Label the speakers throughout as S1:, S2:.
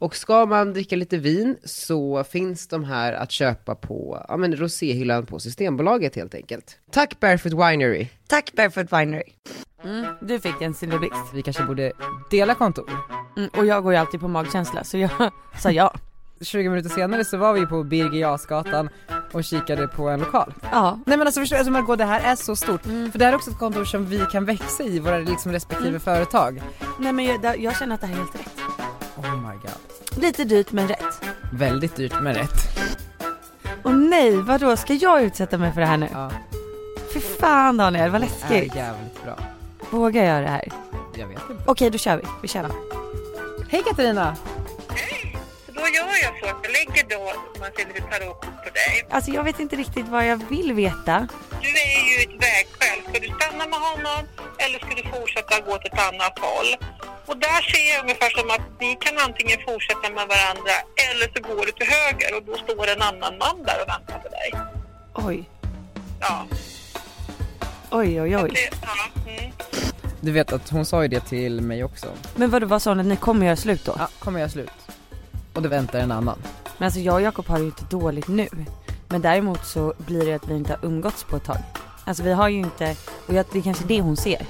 S1: Och ska man dricka lite vin så finns de här att köpa på ja, men roséhyllan på Systembolaget helt enkelt. Tack Barefoot Winery!
S2: Tack Barefoot Winery.
S3: Mm, du fick en silverblixt.
S1: Vi kanske borde dela kontor.
S3: Mm, och jag går ju alltid på magkänsla så jag sa ja.
S4: 20 minuter senare så var vi på Birger Jarlsgatan och kikade på en lokal.
S3: Ja.
S4: Nej men alltså förstår du, alltså Margot det här är så stort. För det här är också ett kontor som vi kan växa i våra liksom respektive företag.
S3: Nej men jag, jag känner att det här är helt rätt.
S4: Oh my god.
S3: Lite dyrt men rätt.
S4: Väldigt dyrt men rätt.
S3: Och nej, vadå ska jag utsätta mig för det här nu?
S4: Ja,
S3: Fy fan Daniel, vad
S4: det är
S3: läskigt.
S4: jävligt bra.
S3: Vågar jag det här?
S4: Jag vet inte.
S3: Okej, då kör vi. Vi kör.
S4: Hej Katarina!
S5: Då gör jag så att jag lägger då man ser lite tarotkort på dig.
S3: Alltså jag vet inte riktigt vad jag vill veta.
S5: Du är ju ett vägskäl. Ska du stanna med honom eller ska du fortsätta gå åt ett annat håll? Och där ser jag ungefär som att ni kan antingen fortsätta med varandra eller så går du till höger och då står en annan man där och väntar på dig.
S3: Oj,
S5: Ja,
S3: oj, oj, oj.
S5: det, ja mm.
S4: Du vet att hon sa ju det till mig också.
S3: Men vadå, vad sa hon att ni kommer göra slut då?
S4: Ja, kommer jag slut. Och det väntar en annan.
S3: Men alltså jag och Jakob har det ju inte dåligt nu. Men däremot så blir det att vi inte har umgåtts på ett tag. Alltså vi har ju inte, och jag, det är kanske det hon ser.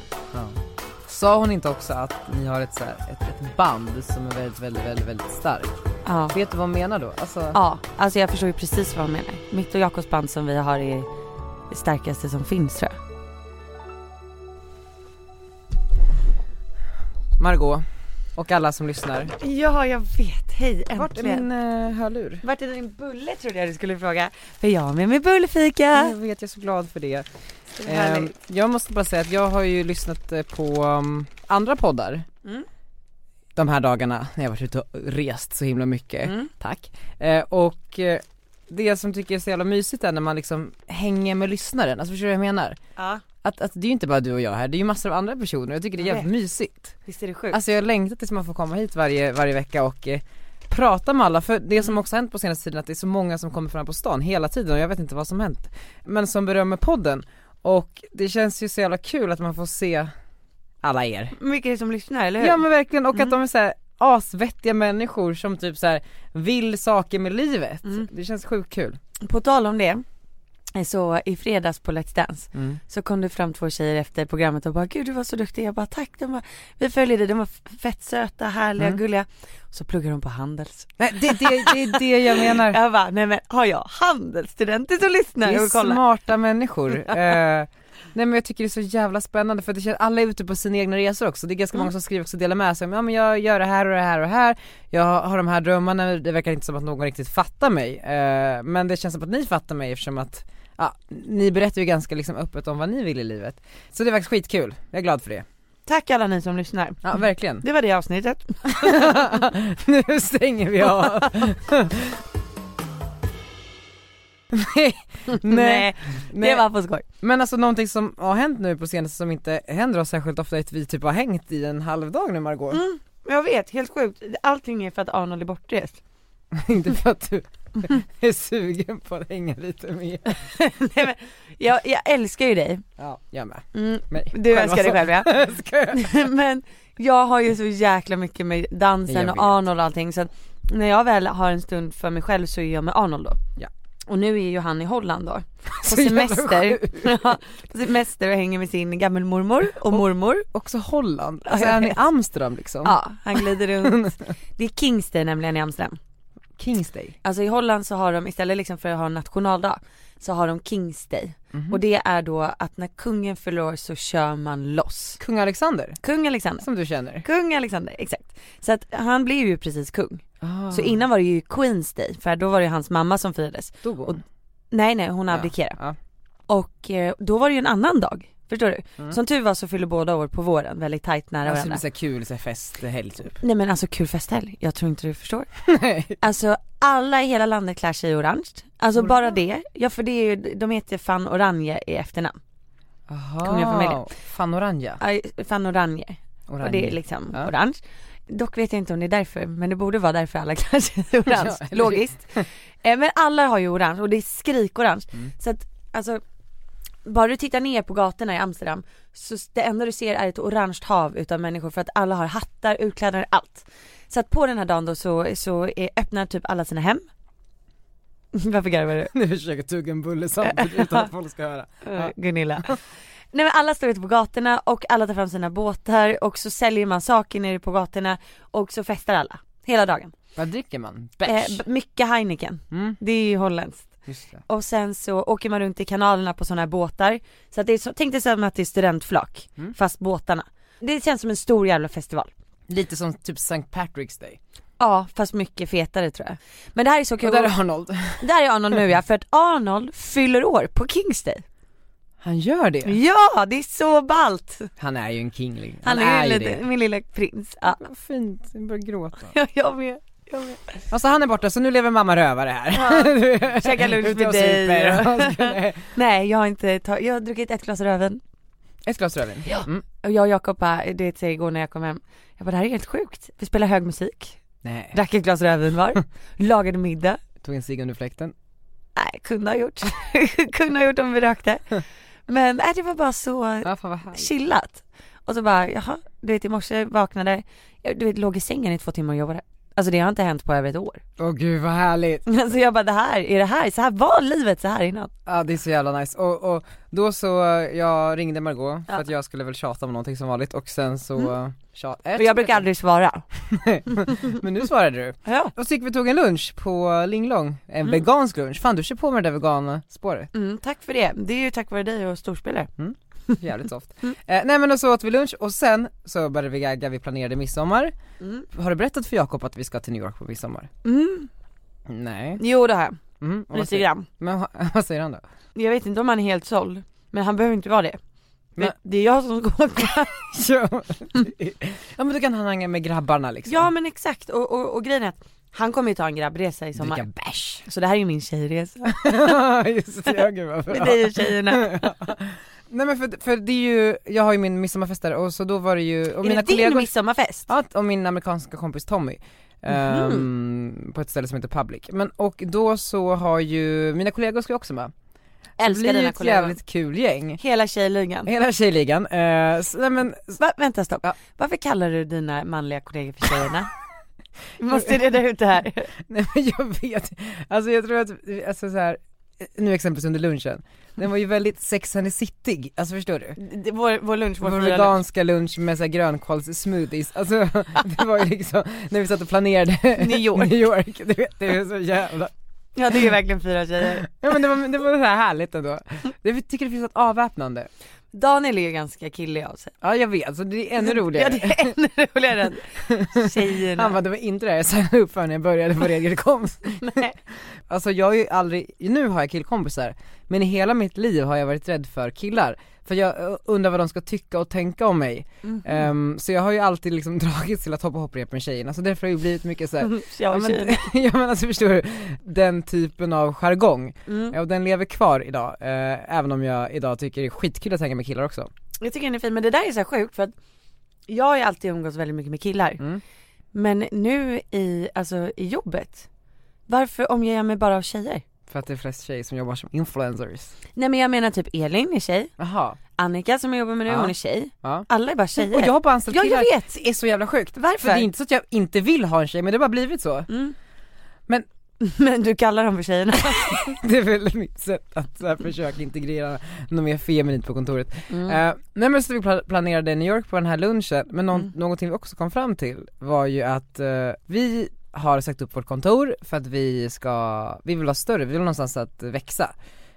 S4: Sa hon inte också att ni har ett, så här, ett, ett band som är väldigt, väldigt, väldigt, väldigt starkt?
S3: Ja.
S4: Vet du vad hon menar då? Alltså,
S3: Ja, alltså jag förstår ju precis vad hon menar. Mitt och Jakobs band som vi har är det starkaste som finns tror jag.
S4: Margot och alla som lyssnar.
S3: Ja, jag vet. Hej, äntligen.
S4: Vart är min eh, hörlur?
S3: Vart är din bulle trodde jag du skulle fråga. För jag har med mig bullfika.
S4: Jag vet, jag är så glad för det.
S3: Det är härligt.
S4: Ehm, jag måste bara säga att jag har ju lyssnat eh, på um, andra poddar
S3: Mm.
S4: de här dagarna när jag varit ute och rest så himla mycket.
S3: Mm.
S4: Tack. Eh, och eh, det som tycker jag är så jävla mysigt är när man liksom hänger med lyssnaren, alltså förstår du vad jag menar?
S3: Ja,
S4: Att, att det är ju inte bara du och jag här, det är ju massor av andra personer jag tycker det är
S3: Jag
S4: jävligt mysigt.
S3: visst är det sjukt?
S4: Alltså jag längtar tills man får komma hit varje, varje vecka och eh, prata med alla. För det som också har hänt på senaste tiden är att det är så många som kommer fram på stan hela tiden och jag vet inte vad som hänt. Men som berömmer podden och det känns ju så jävla kul att man får se alla er.
S3: mycket som lyssnar, eller hur?
S4: Ja men verkligen och att de är så här asvettiga människor som typ så här vill saker med livet. Det känns sjukt kul.
S3: På tal om det, så i fredags på Let's Dance så kom det fram två tjejer efter programmet och bara gud du var så duktig. Jag bara tack, de bara, vi följer dig, de var f- fett söta, härliga, gulliga. Så pluggar de på Handels.
S4: Nej, det, det, det är det jag menar.
S3: Jag bara, nej men har jag handelsstudenter som
S4: Det
S3: lyssnar
S4: är
S3: och kollar?
S4: smarta människor. Eh, nej men jag tycker det är så jävla spännande för det känns, alla är ute på sina egna resor också. Det är ganska
S3: Mm.
S4: många som skriver också och delar med sig om, ja men jag gör det här och det här och det här. Jag har de här drömmarna, det verkar inte som att någon riktigt fattar mig. Eh, men det känns som att ni fattar mig eftersom att, ja, ni berättar ju ganska liksom öppet om vad ni vill i livet. Så det är faktiskt skitkul, jag är glad för det.
S3: Tack alla ni som lyssnar.
S4: Ja verkligen.
S3: Det var det avsnittet.
S4: nu stänger vi av. nej, nej.
S3: det var på skoj.
S4: Men alltså någonting som har hänt nu på senaste som inte händer oss särskilt ofta är att vi typ har hängt i en halv dag nu Margot.
S3: Jag vet, helt sjukt. Allting är för att Arnold är bortrest. Mm.
S4: inte för att du är sugen på att hänga lite mer.
S3: nej men, jag, jag älskar ju dig.
S4: Ja, jag med.
S3: Mm.
S4: Men, alltså,
S3: Du älskar dig själv ja.
S4: själv.
S3: men jag har ju så jäkla mycket med
S4: Jag
S3: dansen
S4: vet.
S3: och Arnold och allting så att när jag väl har en stund för mig själv så är jag med Arnold då.
S4: Ja.
S3: Och nu är ju han i Holland då. På
S4: Så jävla
S3: semester. Ja, på semester och hänger med sin gammelmormor och mormor.
S4: Också Holland,
S3: Ja,
S4: alltså
S3: jag
S4: är ni i
S3: vet.
S4: Amsterdam liksom?
S3: Ja, han glider runt. Det är Kings Day nämligen i Amsterdam.
S4: Kings Day.
S3: Alltså i Holland så har de istället liksom för att ha en nationaldag så har de Kings Day.
S4: Mm.
S3: Och det är då att när kungen fyller år så kör man loss.
S4: Kung Alexander,
S3: Kung Alexander.
S4: som du känner.
S3: Kung Alexander, exakt. Så att han blev ju precis kung.
S4: Ah,
S3: Så innan var det ju Queens Day för då var det ju hans mamma som firades.
S4: dog hon?
S3: och- Nej nej hon abdikerade.
S4: Ja.
S3: Och eh, då var det ju en annan dag. Förstår du? Som tur var så fyller båda år på våren, väldigt tajt nära
S4: Alltså det
S3: varandra.
S4: blir såhär kul Mm. så här festhelg typ.
S3: Nej men alltså kul festhelg, jag tror inte du förstår. Alltså alla i hela landet klär sig i orange. Alltså bara det. Ja för det är ju, de heter fan Oranje i efternamn.
S4: Aha.
S3: Kommer jag familjen?
S4: Fan orangea.
S3: Aj, Fan Oranje.
S4: Orange.
S3: Och det är liksom
S4: Ja.
S3: orange. Dock vet jag inte om det är därför, men det borde vara därför alla klär sig i orange.
S4: Ja, eller hur?
S3: Logiskt. Eh, men alla har ju orange och det är skrikorange.
S4: Mm.
S3: Så att alltså, bara du tittar ner på gatorna i Amsterdam så s- det enda du ser är ett orange hav utav människor för att alla har hattar, utklädnader, allt. Så att på den här dagen då så, så är, öppnar typ alla sina hem. Varför garvar du?
S4: Nu försöker jag tugga en bulle samtidigt utan att folk ska höra.
S3: Ja. Gunilla. Nej men alla står ute på gatorna och alla tar fram sina båtar och så säljer man saker nere på gatorna och så festar alla. Hela dagen.
S4: Vad dricker man?
S3: Eh,
S4: Bärs?
S3: b- mycket Heineken.
S4: Mm,
S3: Det är ju holländskt.
S4: just det.
S3: Och sen så åker man runt i kanalerna på sådana här båtar. Så att det är så, tänk dig som att det är studentflak.
S4: Mm.
S3: Fast båtarna. Det känns som en stor jävla festival.
S4: Lite som typ St. Patrick's Day.
S3: Ja fast mycket fetare tror jag. Men det här är så
S4: Och
S3: kul.
S4: där är Arnold.
S3: Där är Arnold nu ja, för att Arnold fyller år på Kings Day.
S4: Han gör det.
S3: Ja det är så ballt!
S4: Mm. Han är ju en kingling.
S3: Han, är, ju lite, min lilla prins. Ja.
S4: Vad fint, jag börjar gråta.
S3: Ja, jag med.
S4: Alltså han är borta så nu lever mamma rövare här.
S3: käkar lunch
S4: Ute
S3: med
S4: och
S3: dig
S4: super.
S3: och-
S4: Han skulle-
S3: Nej jag har inte tagit, jag har druckit ett glas rödvin.
S4: Ett glas rödvin. Mm.
S3: Och jag och Jakob bara, det vet jag igår när jag kom hem, jag bara det här är helt sjukt. Vi spelade hög musik,
S4: Nej,
S3: drack ett glas rödvin var, lagade middag.
S4: tog en cigg under fläkten.
S3: Nej kunde ha gjort, kunde ha gjort om vi rökte. Men nej, det var bara så
S4: Ja fan vad härligt.
S3: chillat. Och så bara jaha, du vet i morse vaknade, jag, du vet låg i sängen i två timmar och jobbade. Alltså det har inte hänt på över ett år.
S4: Åh gud vad härligt.
S3: Alltså jag bara det här, är det här, så här var livet så här innan?
S4: Ja det är så jävla nice. Och, och då så, eh, jag ringde Margot för att jag skulle väl tjata om någonting som vanligt och sen så mm.
S3: Och jag brukar aldrig svara.
S4: Men nu svarade du.
S3: Ja.
S4: Och så gick vi och tog en lunch på Linglong, en vegansk lunch. Fan du kör på med det där veganspåret,
S3: Mm, tack för det. Det är ju tack vare dig och storspelare.
S4: jävligt soft.
S3: Mm.
S4: Eh, nej men och så åt vi lunch och sen så började vi gagga, vi planerade midsommar.
S3: Mm.
S4: Har du berättat för Jakob att vi ska till New York på midsommar?
S3: Mm.
S4: Nej.
S3: Jo det har jag,
S4: Mm. och vad
S3: lite
S4: säger-
S3: grann.
S4: Men vad- vad säger han då?
S3: Jag vet inte om han är helt såld, men han behöver inte vara det.
S4: Men-
S3: Men... Det är jag som ska åka.
S4: ja men då kan han hänga med grabbarna liksom.
S3: Ja men exakt, och, och, och grejen är att han kommer ju ta en grabbresa i sommar.
S4: Dricka bärs.
S3: Så det här är ju min tjejresa.
S4: Just det, ja, gud vad bra.
S3: Med dig och tjejerna.
S4: Nej men för, för det är ju, jag har ju min midsommarfest där och så då var det ju, och
S3: är
S4: mina
S3: det din
S4: kollegor
S3: midsommarfest?
S4: Ja, och min amerikanska kompis Tommy.
S3: Mhm.
S4: ehm, på ett ställe som heter Public. Men och då så har ju, mina kollegor ska ju också med. Det
S3: Älskar
S4: blir ju
S3: dina
S4: ett
S3: kollegor.
S4: jävligt kul gäng.
S3: Hela tjejligan.
S4: Hela tjejligan. Eh, så, nej men,
S3: Va, vänta stopp,
S4: Ja.
S3: varför kallar du dina manliga kollegor för tjejerna? Vi måste reda ut det här.
S4: nej men jag vet, alltså jag tror att, alltså så här, nu exempelvis under lunchen, den var ju väldigt sex and the city, alltså förstår du?
S3: Det- Vår, vår lunch, vår,
S4: Vår
S3: fira lunch.
S4: veganska lunch med så här grönkålssmoothies, alltså det var ju liksom, när vi satt och planerade
S3: New York.
S4: New York, du vet, det är så jävla
S3: Ja det är verkligen fyra tjejer.
S4: Ja men det var, det var så här härligt ändå. Jag tycker det finns något avväpnande.
S3: Daniel är ju ganska killig av sig.
S4: Ja jag vet, så det är ännu roligare.
S3: Ja det är ännu roligare än tjejerna.
S4: Han bara, det var inte det här jag signade upp för när jag började på regelkomst.
S3: Nej.
S4: Alltså jag har ju aldrig, nu har jag killkompisar, men i hela mitt liv har jag varit rädd för killar. För jag eh, undrar vad de ska tycka och tänka om mig.
S3: Mhm.
S4: Ehm, så jag har ju alltid liksom dragits till att hoppa hopprep med tjejerna, så därför har det ju blivit mycket så här.
S3: Mm, Jag
S4: Ja
S3: och
S4: men,
S3: tjejerna.
S4: ja men alltså förstår du, den typen av jargong.
S3: Mm.
S4: Ja, och den lever kvar idag, eh, även om jag idag tycker det är skitkul att hänga med killar också.
S3: Jag tycker den är fin men det där är så här sjukt för att jag har ju alltid umgåtts väldigt mycket med killar.
S4: Mm.
S3: Men nu i, alltså i jobbet, varför omger jag mig bara av tjejer?
S4: För att det är flest tjejer som jobbar som influencers.
S3: Nej men jag menar typ Elin är tjej,
S4: Jaha.
S3: Annika som jag jobbar med nu
S4: Ja.
S3: hon är tej.
S4: Ja.
S3: Alla är bara tjejer.
S4: Och jag har bara anställt
S3: ja jag vet!
S4: Det är så jävla sjukt. För
S3: Varför?
S4: det är inte så att jag inte vill ha en tjej men det har bara blivit så.
S3: Mm.
S4: Men-
S3: men du kallar dem för tjejerna.
S4: Det är väl mitt sätt att så här, försöka integrera något mer feminint på kontoret.
S3: Mm.
S4: Eh, nej men så vi pla- planerade i New York på den här lunchen, men någon, någonting vi också kom fram till var ju att eh, vi har sagt upp vårt kontor för att vi ska, vi vill vara större, vi vill någonstans att växa.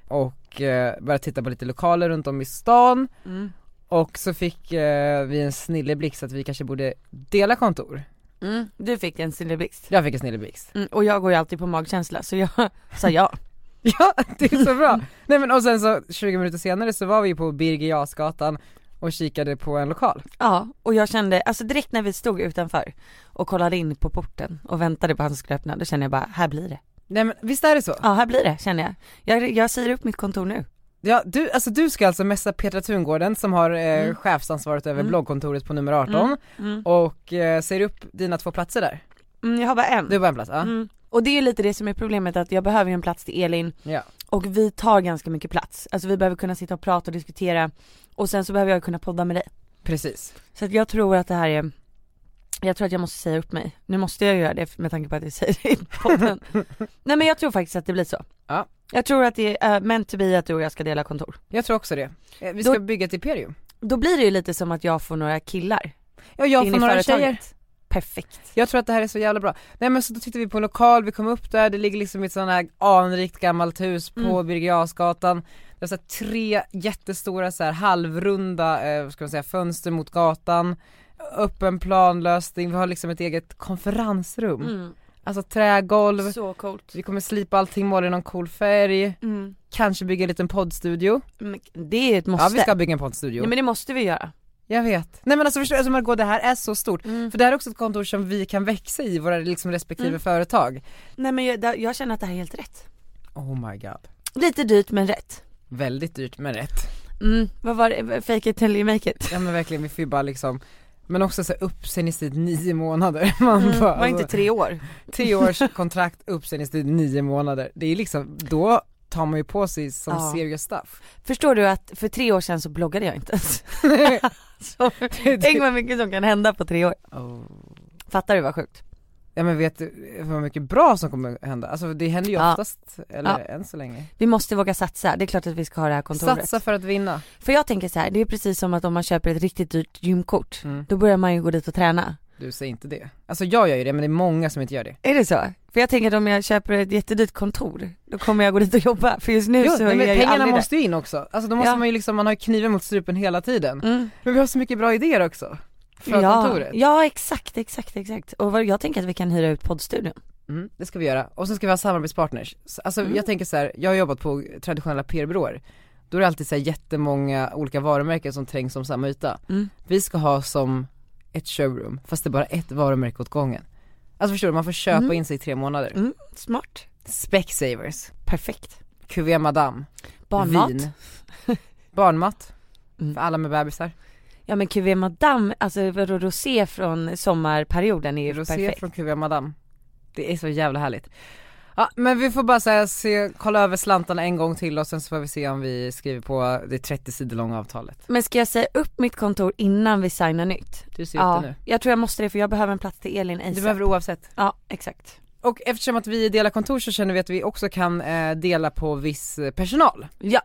S4: Och eh, börja titta på lite lokaler runt om i stan
S3: Mm.
S4: och så fick eh, vi en snilleblixt att vi kanske borde dela kontor.
S3: Mm. Du fick en snilleblixt.
S4: Jag fick en snilleblixt.
S3: Mm. Och jag går ju alltid på magkänsla så jag sa ja.
S4: Ja, det är så bra. Nej men och sen så 20 minuter senare så var vi ju på Birger Jarlsgatan och kikade på en lokal.
S3: Ja, och jag kände, alltså direkt när vi stod utanför och kollade in på porten och väntade på att han skulle öppna, då kände jag bara, här blir det.
S4: Nej men visst är det så?
S3: Ja, här blir det känner jag. Jag, jag säger upp mitt kontor nu.
S4: Ja, du, alltså du ska alltså messa Petra Tungården som har eh, chefsansvaret över bloggkontoret på nummer 18 och eh, säger upp dina två platser där.
S3: Mm, jag har bara en.
S4: Du har bara en plats, ja.
S3: Mm. Och det är ju lite det som är problemet att jag behöver ju en plats till Elin
S4: ja.
S3: och vi tar ganska mycket plats. Alltså vi behöver kunna sitta och prata och diskutera och sen så behöver jag kunna podda med dig.
S4: Precis.
S3: Så att jag tror att det här är, jag tror att jag måste säga upp mig. Nu måste jag göra det med tanke på att jag säger det i podden. Nej men jag tror faktiskt att det blir så.
S4: Ja.
S3: Jag tror att det är uh, meant to be att du och jag ska dela kontor.
S4: Jag tror också det. Eh, Vi
S3: Då-
S4: ska bygga ett imperium.
S3: Då blir det ju lite som att jag får några killar
S4: Ja, jag
S3: in
S4: får
S3: i
S4: några
S3: företaget.
S4: tjejer.
S3: Perfekt.
S4: Jag tror att det här är så jävla bra. Nej men så då tittade vi på en lokal, vi kom upp där, det ligger liksom ett sånt här anrikt gammalt hus på
S3: Mm.
S4: Birger Jarlsgatan. Det var så här tre jättestora så här halvrunda, eh, vad ska man säga, fönster mot gatan. Öppen planlösning, vi har liksom ett eget konferensrum.
S3: Mm.
S4: Alltså trägolv,
S3: Så coolt.
S4: vi kommer slipa allting, måla i någon cool färg,
S3: Mm.
S4: kanske bygga en liten poddstudio.
S3: Men Det är ett måste.
S4: Ja vi ska bygga en poddstudio.
S3: Nej men det måste vi göra.
S4: Jag vet. Nej men alltså förstår du, alltså Margot det här är så stort.
S3: Mm.
S4: För det här är också ett kontor som vi kan växa i våra liksom respektive
S3: Mm.
S4: företag.
S3: Nej men jag, jag känner att det här är helt rätt.
S4: Oh my god.
S3: Lite dyrt men rätt.
S4: Väldigt dyrt men rätt.
S3: Mm, vad var det? Fake it till you make it.
S4: Ja men verkligen, vi får ju bara liksom men också så här uppsägningstid nio månader. Man
S3: Mm,
S4: bara, alltså,
S3: var inte tre år.
S4: tre års kontrakt, uppsägningstid nio månader. Det är liksom, då tar man ju på sig som
S3: Ja.
S4: serious stuff.
S3: Förstår du att för tre år sedan så bloggade jag inte ens. så, tänk vad mycket som kan hända på tre år.
S4: typ- Oh.
S3: Fattar du vad sjukt?
S4: Ja men vet du vad mycket bra som kommer hända? Alltså det händer ju
S3: Ja.
S4: oftast, eller
S3: Ja.
S4: än så länge.
S3: Vi måste våga satsa, det är klart att vi ska ha det här kontoret.
S4: Satsa för att vinna.
S3: För jag tänker så här, det är precis som att om man köper ett riktigt dyrt gymkort,
S4: Mm.
S3: då börjar man ju gå dit och träna.
S4: Du säger inte det. Alltså jag gör ju det men det är många som inte gör det.
S3: Är det så? För jag tänker att om jag köper ett jättedyrt kontor, då kommer jag gå dit och jobba. För just nu
S4: Jo,
S3: så
S4: nej,
S3: är
S4: men
S3: jag ju
S4: pengarna
S3: aldrig
S4: måste ju in också. Alltså då måste
S3: Ja.
S4: man ju liksom, man har ju kniven mot strupen hela tiden.
S3: där. Mm.
S4: Men vi har så mycket bra idéer också. Från
S3: Ja,
S4: kontoret.
S3: ja, exakt, exakt, exakt. Och vad, jag tänker att vi kan hyra ut poddstudion.
S4: Mm, det ska vi göra. Och sen ska vi ha samarbetspartners. Så- Alltså
S3: Mm.
S4: jag tänker så här, jag har jobbat på traditionella PR-byråer. Då är det alltid så här jättemånga olika varumärken som trängs om samma yta.
S3: Mm.
S4: Vi ska ha som ett showroom, fast det är bara ett varumärke åt gången. Alltså förstår du, man får köpa
S3: Mm.
S4: in sig i tre månader.
S3: Mm, smart.
S4: Specsavers,
S3: Perfekt.
S4: Cuvée Madame,
S3: Barnmat.
S4: vin, barnmat,
S3: Mm.
S4: för alla med bebisar.
S3: Ja men QV Madame, alltså vadå, rosé från sommarperioden är ju
S4: Rosé
S3: perfekt.
S4: från Cuvée Madame. Det är så jävla härligt. Ja, men vi får bara så här, se, kolla över slantarna en gång till och sen så får vi se om vi skriver på det 30 sidor långa avtalet.
S3: Men ska jag säga upp mitt kontor innan vi signar nytt?
S4: Du ser ut Typ det
S3: Ja,
S4: nu.
S3: jag tror jag måste det för jag behöver en plats till Elin ASAP.
S4: Du behöver det oavsett.
S3: Ja, exakt.
S4: Och eftersom att vi delar kontor så känner vi att vi också kan eh, dela på viss eh, personal.
S3: Ja.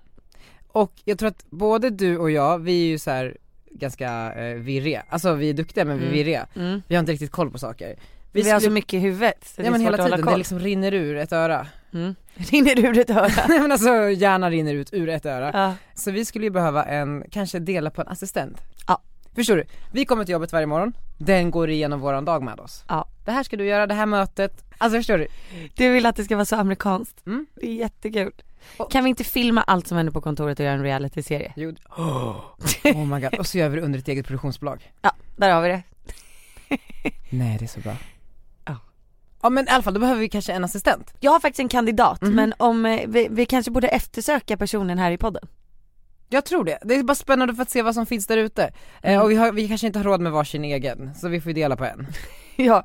S4: Och jag tror att både du och jag, vi är ju så här ganska eh, virriga. Alltså vi är duktiga men vi är
S3: Mm.
S4: virriga.
S3: Mm.
S4: Vi har inte riktigt koll på saker. Vi,
S3: Vi, har alltså så
S4: skulle-
S3: mycket i huvudet så det
S4: ja
S3: är
S4: men
S3: svårt
S4: hela
S3: att hålla
S4: tiden, det
S3: koll.
S4: liksom rinner ur ett öra.
S3: Mm. Rinner ur ett öra.
S4: Nej men alltså hjärnan rinner ut ur ett öra.
S3: ja.
S4: Så vi skulle ju behöva en, kanske dela på en assistent.
S3: Ja.
S4: Förstår du? Vi kommer till jobbet varje morgon, den går igenom våran dag med oss.
S3: Ja.
S4: Det här ska du göra, det här mötet. Alltså förstår du?
S3: Du vill att det ska vara så amerikanskt.
S4: Mm.
S3: Det är jättekul.
S4: Och-
S3: Kan vi inte filma allt som händer på kontoret och göra en realityserie?
S4: Jo. Oh, oh my god. Och så gör vi det under ett eget produktionsbolag.
S3: Ja, där har vi det.
S4: Nej det är så bra.
S3: Ja.
S4: Ja men i alla fall, då behöver vi kanske en assistent.
S3: Jag har faktiskt en kandidat
S4: Mhm.
S3: men om, eh, vi, vi kanske borde eftersöka personen här i podden.
S4: Jag tror det. Det är bara spännande för att se vad som finns där ute. Eh, och vi, har, vi kanske inte har råd med varsin egen, så vi får ju dela på en.
S3: ja.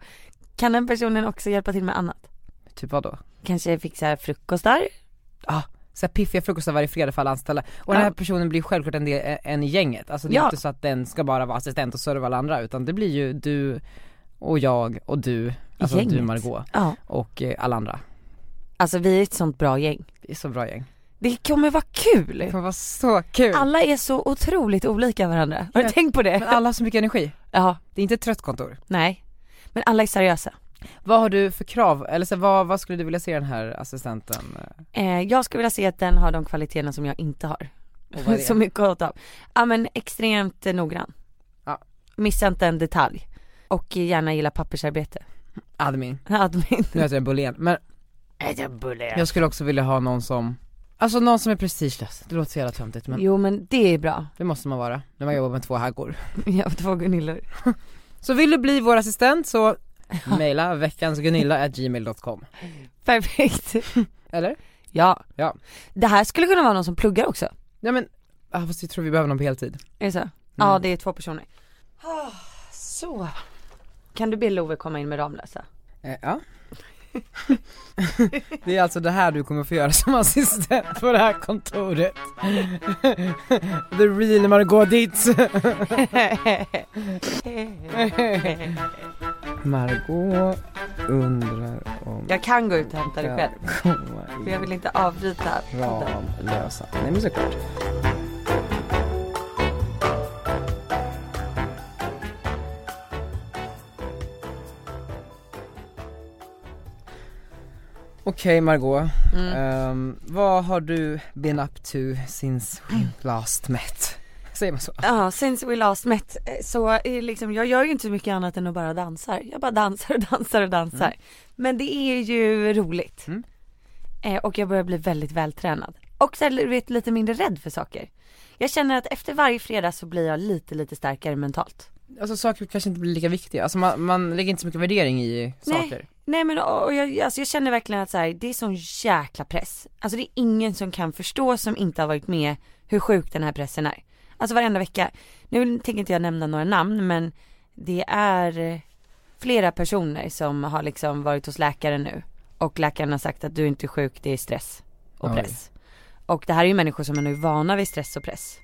S3: Kan den personen också hjälpa till med annat?
S4: Typ vadå?
S3: Kanske fixa frukostar?
S4: så här piffiga frukostar varje fredag för alla anställda. Och den här personen blir självklart en, del, en i gänget. Alltså det är
S3: Ja.
S4: inte så att den ska bara vara assistent och serva alla andra utan det blir ju du och jag och du, alltså
S3: Gänget.
S4: du Margot
S3: Ja.
S4: och eh, alla andra.
S3: Alltså vi är ett sånt bra gäng.
S4: Det är så bra gäng.
S3: Det kommer vara kul!
S4: Det kommer vara så kul.
S3: Alla är så otroligt olika varandra. Har du tänkt på
S4: Men
S3: det?
S4: alla har så mycket energi.
S3: Ja,
S4: Det är inte ett trött kontor.
S3: nej. Men alla är seriösa.
S4: Vad har du för krav, eller så här, vad, vad skulle du vilja se den här assistenten? eh,
S3: Eh, jag skulle vilja se att den har de kvaliteterna som jag inte har.
S4: Och vad är det?
S3: så mycket att ta av. Ja men extremt eh, noggrann.
S4: Ja.
S3: Missa inte en detalj. Och gärna gilla pappersarbete.
S4: Admin.
S3: Admin.
S4: Nu äter jag en bulle igen. Men Jag skulle också vilja ha någon som, alltså någon som är prestigelös, det låter så jävla töntigt men
S3: Jo men det är bra.
S4: det måste man vara när man jobbar med två haggor.
S3: Jag har två Gunillor.
S4: Så vill du bli vår assistent så mejla veckansgunilla@gmail.com
S3: Perfekt.
S4: Eller?
S3: Ja.
S4: Ja.
S3: Det här skulle kunna vara någon som pluggar också.
S4: Ja men, ah, fast jag tror vi behöver någon på heltid.
S3: Är det så? Ja det är två personer. Ah, så. Kan du be Love komma in med Ramlösa?
S4: Eh, ja. det är alltså det här du kommer få göra som assistent på det här kontoret. The real när man går dit. Margot undrar om
S3: Jag kan gå ut och hämta det
S4: jag
S3: själv.
S4: kommer
S3: För jag vill inte avbryta. podden.
S4: Ramlösa. Nej men såklart. Okej Margot,
S3: Mm.
S4: ehm, vad har du been up to since we last met? Säger man så?
S3: Ja, since we last met eh, så är det liksom, jag gör ju inte så mycket annat än att bara dansar. Jag bara dansar och dansar och dansar. Men det är ju roligt.
S4: Mm.
S3: Eh, och jag börjar bli väldigt vältränad. Och så här, du vet, lite mindre rädd för saker. Jag känner att efter varje fredag så blir jag lite, lite starkare mentalt.
S4: Alltså saker kanske inte blir lika viktiga, alltså man, man lägger inte så mycket värdering i saker.
S3: Nej men och och jag, alltså jag känner verkligen att så här, det är sån jäkla press. Alltså det är ingen som kan förstå som inte har varit med hur sjuk den här pressen är. Alltså varenda vecka. Nu tänker inte jag nämna några namn men det är eh, flera personer som har liksom varit hos läkaren nu. Och läkaren har sagt att du är inte sjuk, det är stress och
S4: Oj.
S3: press. Och det här är ju människor som är nu vana vid stress och press.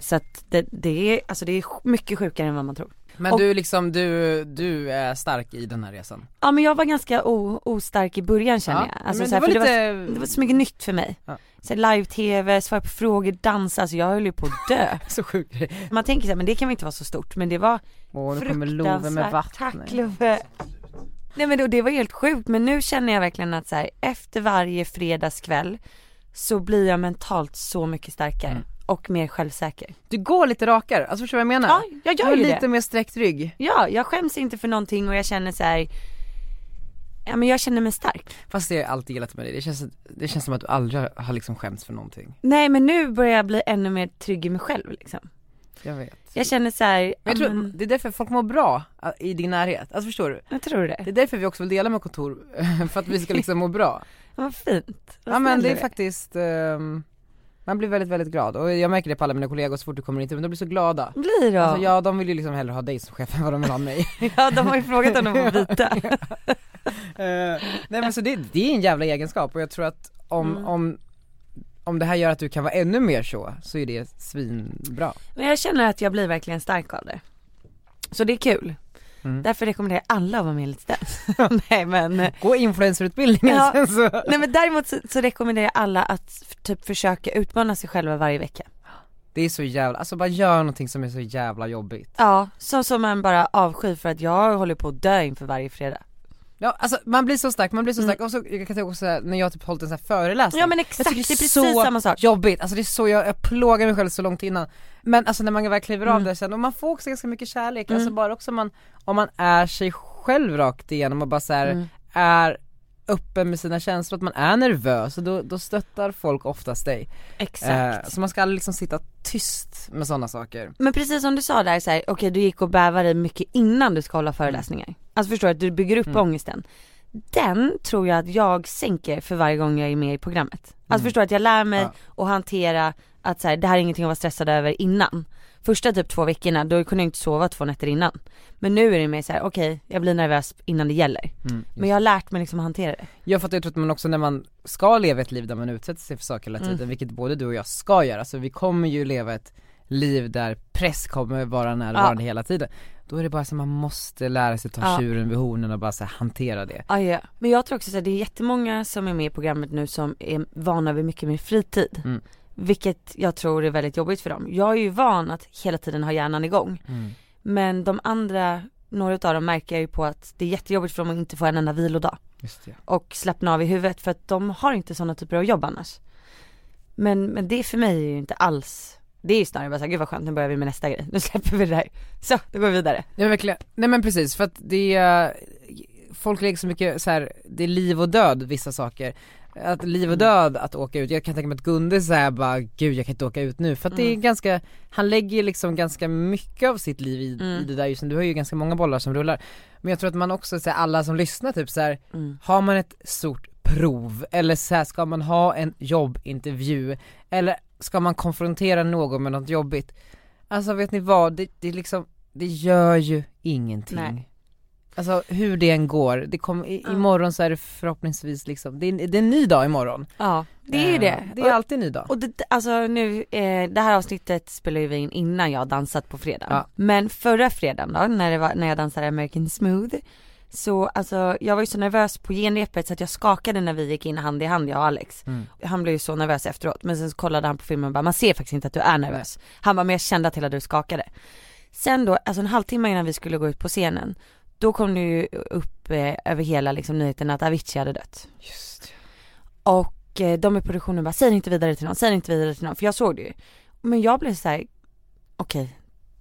S3: Så att det, det är, alltså det är sj- mycket sjukare än vad man tror.
S4: Men
S3: Och-
S4: du liksom, du, du är stark i den här resan.
S3: Ja men jag var ganska o- ostark i början känner
S4: Ja,
S3: jag. Alltså,
S4: men
S3: så här,
S4: det var
S3: för det,
S4: lite-
S3: var, det var så mycket nytt för mig.
S4: Mm. Ja.
S3: Så här, Live-tv, svara på frågor, dansa, alltså jag höll ju på att dö.
S4: Så sjuk grej.
S3: Man tänker så här, men det kan väl inte vara så stort men det var
S4: Åh nu kommer Love med
S3: fruktansvärt. Tack
S4: vattnet.
S3: Love. Nej men det, och det var helt sjukt men nu känner jag verkligen att så här, efter varje fredagskväll så blir jag mentalt så mycket starkare
S4: Mm.
S3: och mer självsäker.
S4: Du går lite rakare, alltså förstår du vad jag menar?
S3: Ja, jag
S4: du
S3: gör
S4: har
S3: ju det.
S4: lite mer sträckt rygg.
S3: Ja, jag skäms inte för någonting och jag känner så här, ja men jag känner mig stark.
S4: Fast det har jag alltid gillat med dig, det känns, det känns som att du aldrig har- har liksom skämts för någonting.
S3: Nej men nu börjar jag bli ännu mer trygg i mig själv liksom.
S4: Jag vet.
S3: Jag känner så här,
S4: Men jag
S3: ja,
S4: tror,
S3: men,
S4: det är därför folk mår bra äh, i din närhet, alltså förstår du?
S3: jag tror
S4: Det
S3: det.
S4: är därför vi också vill dela med kontor, för att vi ska liksom må bra.
S3: Ja, Vad fint. Vad
S4: Ja men
S3: snäll
S4: det
S3: du
S4: är faktiskt, ehm, man blir väldigt väldigt glad och jag märker det på alla mina kollegor så fort du kommer in till men de blir så glada.
S3: Blir då?
S4: Alltså ja, de vill ju liksom hellre ha dig som chef än vad de vill ha mig.
S3: Ja de har ju frågat om de får byta.
S4: Eh, nej men så det, det är en jävla egenskap och jag tror att om, om, om det här gör att du kan vara ännu mer så, så är det svinbra.
S3: Men jag känner att jag blir verkligen stark av det. Så det är kul.
S4: Mm.
S3: Därför rekommenderar jag alla att vara med i Let's Dance. Nej men,
S4: Gå influencerutbildningen
S3: Ja.
S4: sen så.
S3: nej men däremot så, så rekommenderar jag alla att f- typ försöka utmana sig själva varje vecka.
S4: Det är så jävla, alltså bara gör någonting som är så jävla jobbigt.
S3: Ja, så som man bara avskyr för att jag håller på att dö inför varje fredag.
S4: Ja alltså man blir så stark, man blir så stark och så, jag kan tänka också så här, när jag har typ hållit en sån här föreläsning.
S3: Mm. Ja men
S4: Jag
S3: exakt, det
S4: tycker
S3: är precis
S4: så
S3: samma sak.
S4: jobbigt, alltså det är så jag, jag plågar mig själv så långt innan. Men alltså när man väl kliver
S3: Mm.
S4: av det sen, och man får också ganska mycket kärlek, alltså bara också om man, om man är sig själv rakt igenom och bara så här,
S3: Mm.
S4: är öppen med sina känslor, att man är nervös och då, då stöttar folk oftast dig.
S3: Exakt.
S4: Eh, så man ska aldrig liksom sitta tyst med sådana saker.
S3: Men precis som du sa där så här, okej du gick och bävade mycket innan du ska hålla föreläsningar. Alltså förstår du att du bygger upp ångesten. Den tror jag att jag sänker för varje gång jag är med i programmet. Alltså förstår du att jag lär mig att hantera att så här, det här är ingenting att vara stressad över innan. Första typ två veckorna då kunde jag inte sova två nätter innan. Men nu är det mer så här, okej jag blir nervös innan det gäller. Men jag har lärt mig liksom att hantera det.
S4: Jag fattar, jag tror att man också när man ska leva ett liv där man utsätter sig för saker hela tiden, vilket både du och jag ska göra, så vi kommer ju leva ett liv där press kommer vara närvarande hela tiden. Då är det bara så att man måste lära sig ta
S3: Ja.
S4: tjuren vid hornen och bara så här, hantera det.
S3: Ah, Ja, ja. Men jag tror också att det är jättemånga som är med i programmet nu som är vana vid mycket mer fritid.
S4: Mm.
S3: Vilket jag tror är väldigt jobbigt för dem. Jag är ju van att hela tiden ha hjärnan igång.
S4: Mm.
S3: Men de andra, några utav dem märker jag ju på att det är jättejobbigt för dem att inte få en enda vilodag.
S4: Just det.
S3: Och slappna av i huvudet för att de har inte sådana typer av jobb annars. Men, men det för mig är ju inte alls, det är ju snarare bara såhär, gud vad skönt nu börjar vi med nästa grej. Nu släpper vi det här. Så, då går vi vidare.
S4: Ja, verkligen. Nej men precis, för att det, eh, folk lägger så mycket så här, det är liv och död vissa saker. Att liv och död att åka ut, jag kan tänka mig att Gunde så här bara gud jag kan inte åka ut nu för att det är ganska, han lägger ju liksom ganska mycket av sitt liv i, i det där just nu, du har ju ganska många bollar som rullar. Men jag tror att man också, så här, alla som lyssnar typ så här, har man ett stort prov eller så här, ska man ha en jobbintervju eller ska man konfrontera någon med något jobbigt. Alltså vet ni vad, det, det är liksom, det gör ju ingenting.
S3: Nej.
S4: Alltså hur det än går, det kommer i, imorgon så är det förhoppningsvis liksom, det är, en- det är en ny dag imorgon.
S3: Ja, det är ju
S4: Eh,
S3: det.
S4: Det är alltid en ny dag.
S3: Och det, alltså nu, eh, det här avsnittet spelar ju vi in innan jag har dansat på fredag.
S4: Ja.
S3: Men förra fredagen då, när, det var, när jag dansade American Smooth, så alltså jag var ju så nervös på genrepet så att jag skakade när vi gick in hand i hand jag och Alex. Han blev ju så nervös efteråt men sen så kollade han på filmen och bara man ser faktiskt inte att du är nervös. Han bara men jag kände att hela du skakade. Sen då, alltså en halvtimme innan vi skulle gå ut på scenen, då kom det ju upp eh, över hela liksom, nyheten att Avicii hade dött. Och eh, de i produktionen bara, säg det inte vidare till någon, säg det inte vidare till någon, för jag såg det ju. Men jag blev så här: okej,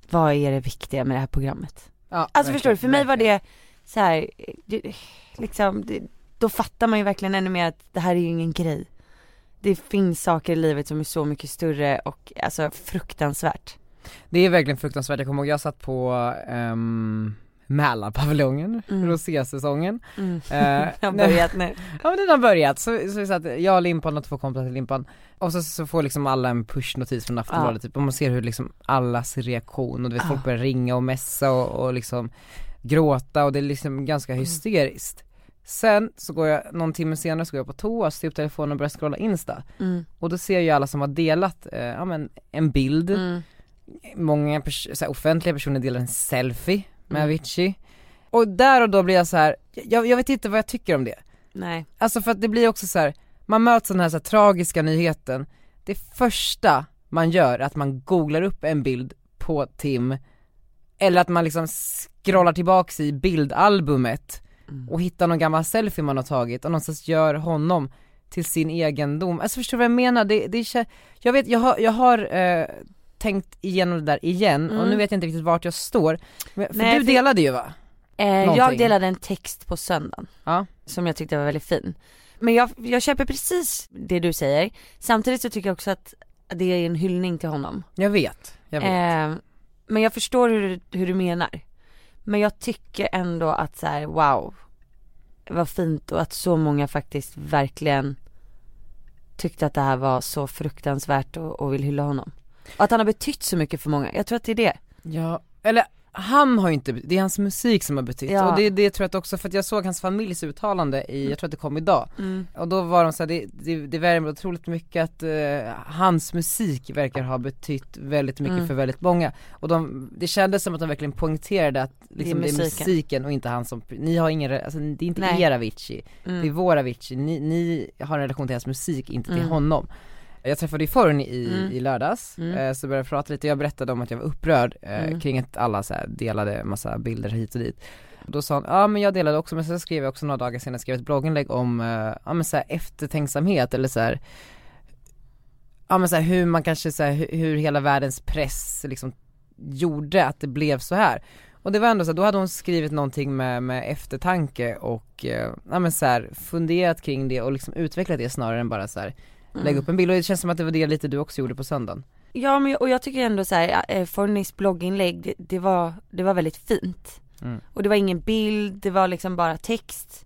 S3: vad är det viktiga med det här programmet?
S4: Ja,
S3: Alltså
S4: verkligen,
S3: förstår du, för mig var
S4: verkligen.
S3: det så här, eh, det, liksom, det, då fattar man ju verkligen ännu mer att det här är ju ingen grej. Det finns saker i livet som är så mycket större och alltså fruktansvärt.
S4: Det är verkligen fruktansvärt, jag kommer ihåg jag satt på um, Mälarpaviljongen,
S3: Mm.
S4: rosésäsongen.
S3: Mm.
S4: Eh,
S3: Jag har
S4: nej.
S3: börjat nu.
S4: Ja men den har börjat, så, så vi satt, jag och Limpan och två kompisar till Limpan och så, så får liksom alla en pushnotis från Aftonbladet typ och man ser hur liksom allas reaktion och du vet folk börjar ringa och messa och, och liksom gråta och det är liksom ganska hysteriskt Sen så går jag, någon timme senare så går jag på toa, styr upp telefonen och börjar scrolla insta
S3: Mm.
S4: och då ser jag ju alla som har delat, eh, ja men en bild,
S3: Mm.
S4: många pers- så här, offentliga personer delar en selfie med Avicii och där och då blir jag så här, jag, jag vet inte vad jag tycker om det
S3: Nej.
S4: Alltså för att det blir också så här, man möts av den här, så här tragiska nyheten, det första man gör är att man googlar upp en bild på Tim, eller att man liksom scrollar tillbaks i bildalbumet
S3: Mm.
S4: och hittar någon gammal selfie man har tagit och någonstans gör honom till sin egendom. Alltså förstår du vad jag menar? Det, det kä- jag vet, jag har, jag har eh, tänkt igenom det där igen och nu vet jag inte riktigt vart jag står. Men, för
S3: Mm. Nej,
S4: du
S3: för-
S4: delade ju va?
S3: Eh, jag
S4: Någonting.
S3: delade en text på söndagen.
S4: Ja.
S3: Som jag tyckte var väldigt fin. Men jag, jag köper precis det du säger. Samtidigt så tycker jag också att det är en hyllning till honom.
S4: Jag vet, jag vet.
S3: Eh, men jag förstår hur, du- hur du menar. Men jag tycker ändå att så här, wow. Vad fint och att så många faktiskt verkligen tyckte att det här var så fruktansvärt och, och vill hylla honom. Och att han har betytt så mycket för många. Jag tror att det är det.
S4: Ja, eller han har ju inte, det är hans musik som har betytt
S3: Ja.
S4: och det, det tror jag att också, för att jag såg hans familjs uttalande i, jag tror att det kom idag och då var de såhär, det, det, det värmer otroligt mycket att eh, hans musik verkar ha betytt väldigt mycket
S3: Mm.
S4: för väldigt många och de, det kändes som att de verkligen poängterade att liksom, det, är
S3: musiken.
S4: musiken och inte han som, ni har ingen, re- alltså, det är inte
S3: Nej. Mm.
S4: er Avicii, det är vår Avicii, ni, ni har en relation till hans musik, inte till honom jag träffade ju Forn i,
S3: Mm.
S4: i lördags, eh, så började jag prata lite, jag berättade om att jag var upprörd eh, kring att alla så här, delade massa bilder hit och dit. Då sa han, ja men jag delade också, men sen skrev jag också några dagar senare, skrev ett blogginlägg om, eh, ja men så här, eftertänksamhet eller så här ja men så här, hur man kanske så här, hur, hur hela världens press liksom gjorde att det blev så här. Och det var ändå så här, då hade hon skrivit någonting med, med eftertanke och eh, ja men så här, funderat kring det och liksom utvecklat det snarare än bara så här lägga
S3: Mm.
S4: upp en bild och det känns som att det var det lite du också gjorde på söndagen.
S3: Ja men, jag- och jag tycker ändå så här, eh, Fornis blogginlägg, det, det, var, det var väldigt fint. Och det var ingen bild, det var liksom bara text.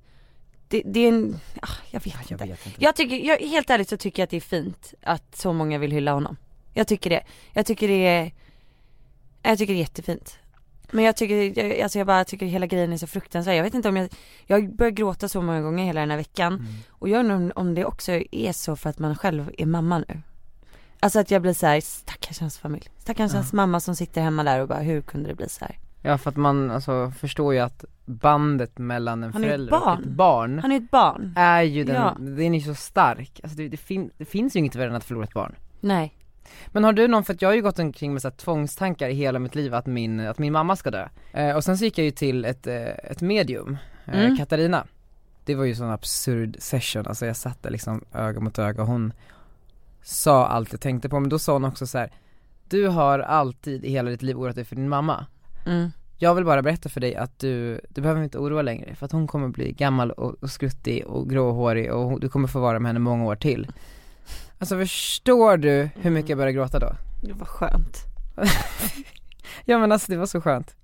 S3: Det, det är en, ah, jag vet inte. Jag,
S4: inte.
S3: tycker, jag, helt ärligt så tycker jag att det är fint att så många vill hylla honom. Jag tycker det. Jag tycker det är, jag tycker det är jättefint. Men jag tycker, jag, alltså jag bara tycker hela grejen är så fruktansvärd. Jag vet inte om jag, jag börjar gråta så många gånger hela den här veckan. Och jag undrar om, om det också är så för att man själv är mamma nu. Alltså att jag blir så här, stackars hans familj. Stackars hans mamma som sitter hemma där och bara, hur kunde det bli så här?
S4: Ja för att man alltså förstår ju att bandet mellan en
S3: Han är ju ett
S4: förälder och ett
S3: barn.
S4: barn
S3: Han är ju ett barn.
S4: är ju den,
S3: Ja.
S4: den är ju så stark, alltså det, det, fin, det finns ju inget värre än att förlora ett barn.
S3: Nej.
S4: Men har du någon, för att jag har ju gått omkring med så här tvångstankar i hela mitt liv att min, att min mamma ska dö. Eh, och sen så gick jag ju till ett, eh, ett medium, eh,
S3: Mm.
S4: Katarina. Det var ju sån absurd session, alltså jag satt där liksom öga mot öga och hon sa allt jag tänkte på, men då sa hon också så här: du har alltid i hela ditt liv oroat dig för din mamma.
S3: Mm.
S4: jag vill bara berätta för dig att du, du behöver inte oroa längre för att hon kommer bli gammal och, och skruttig och gråhårig och hon, du kommer få vara med henne många år till Alltså förstår du hur mycket jag började gråta då?
S3: Det var skönt.
S4: Ja men alltså det var så skönt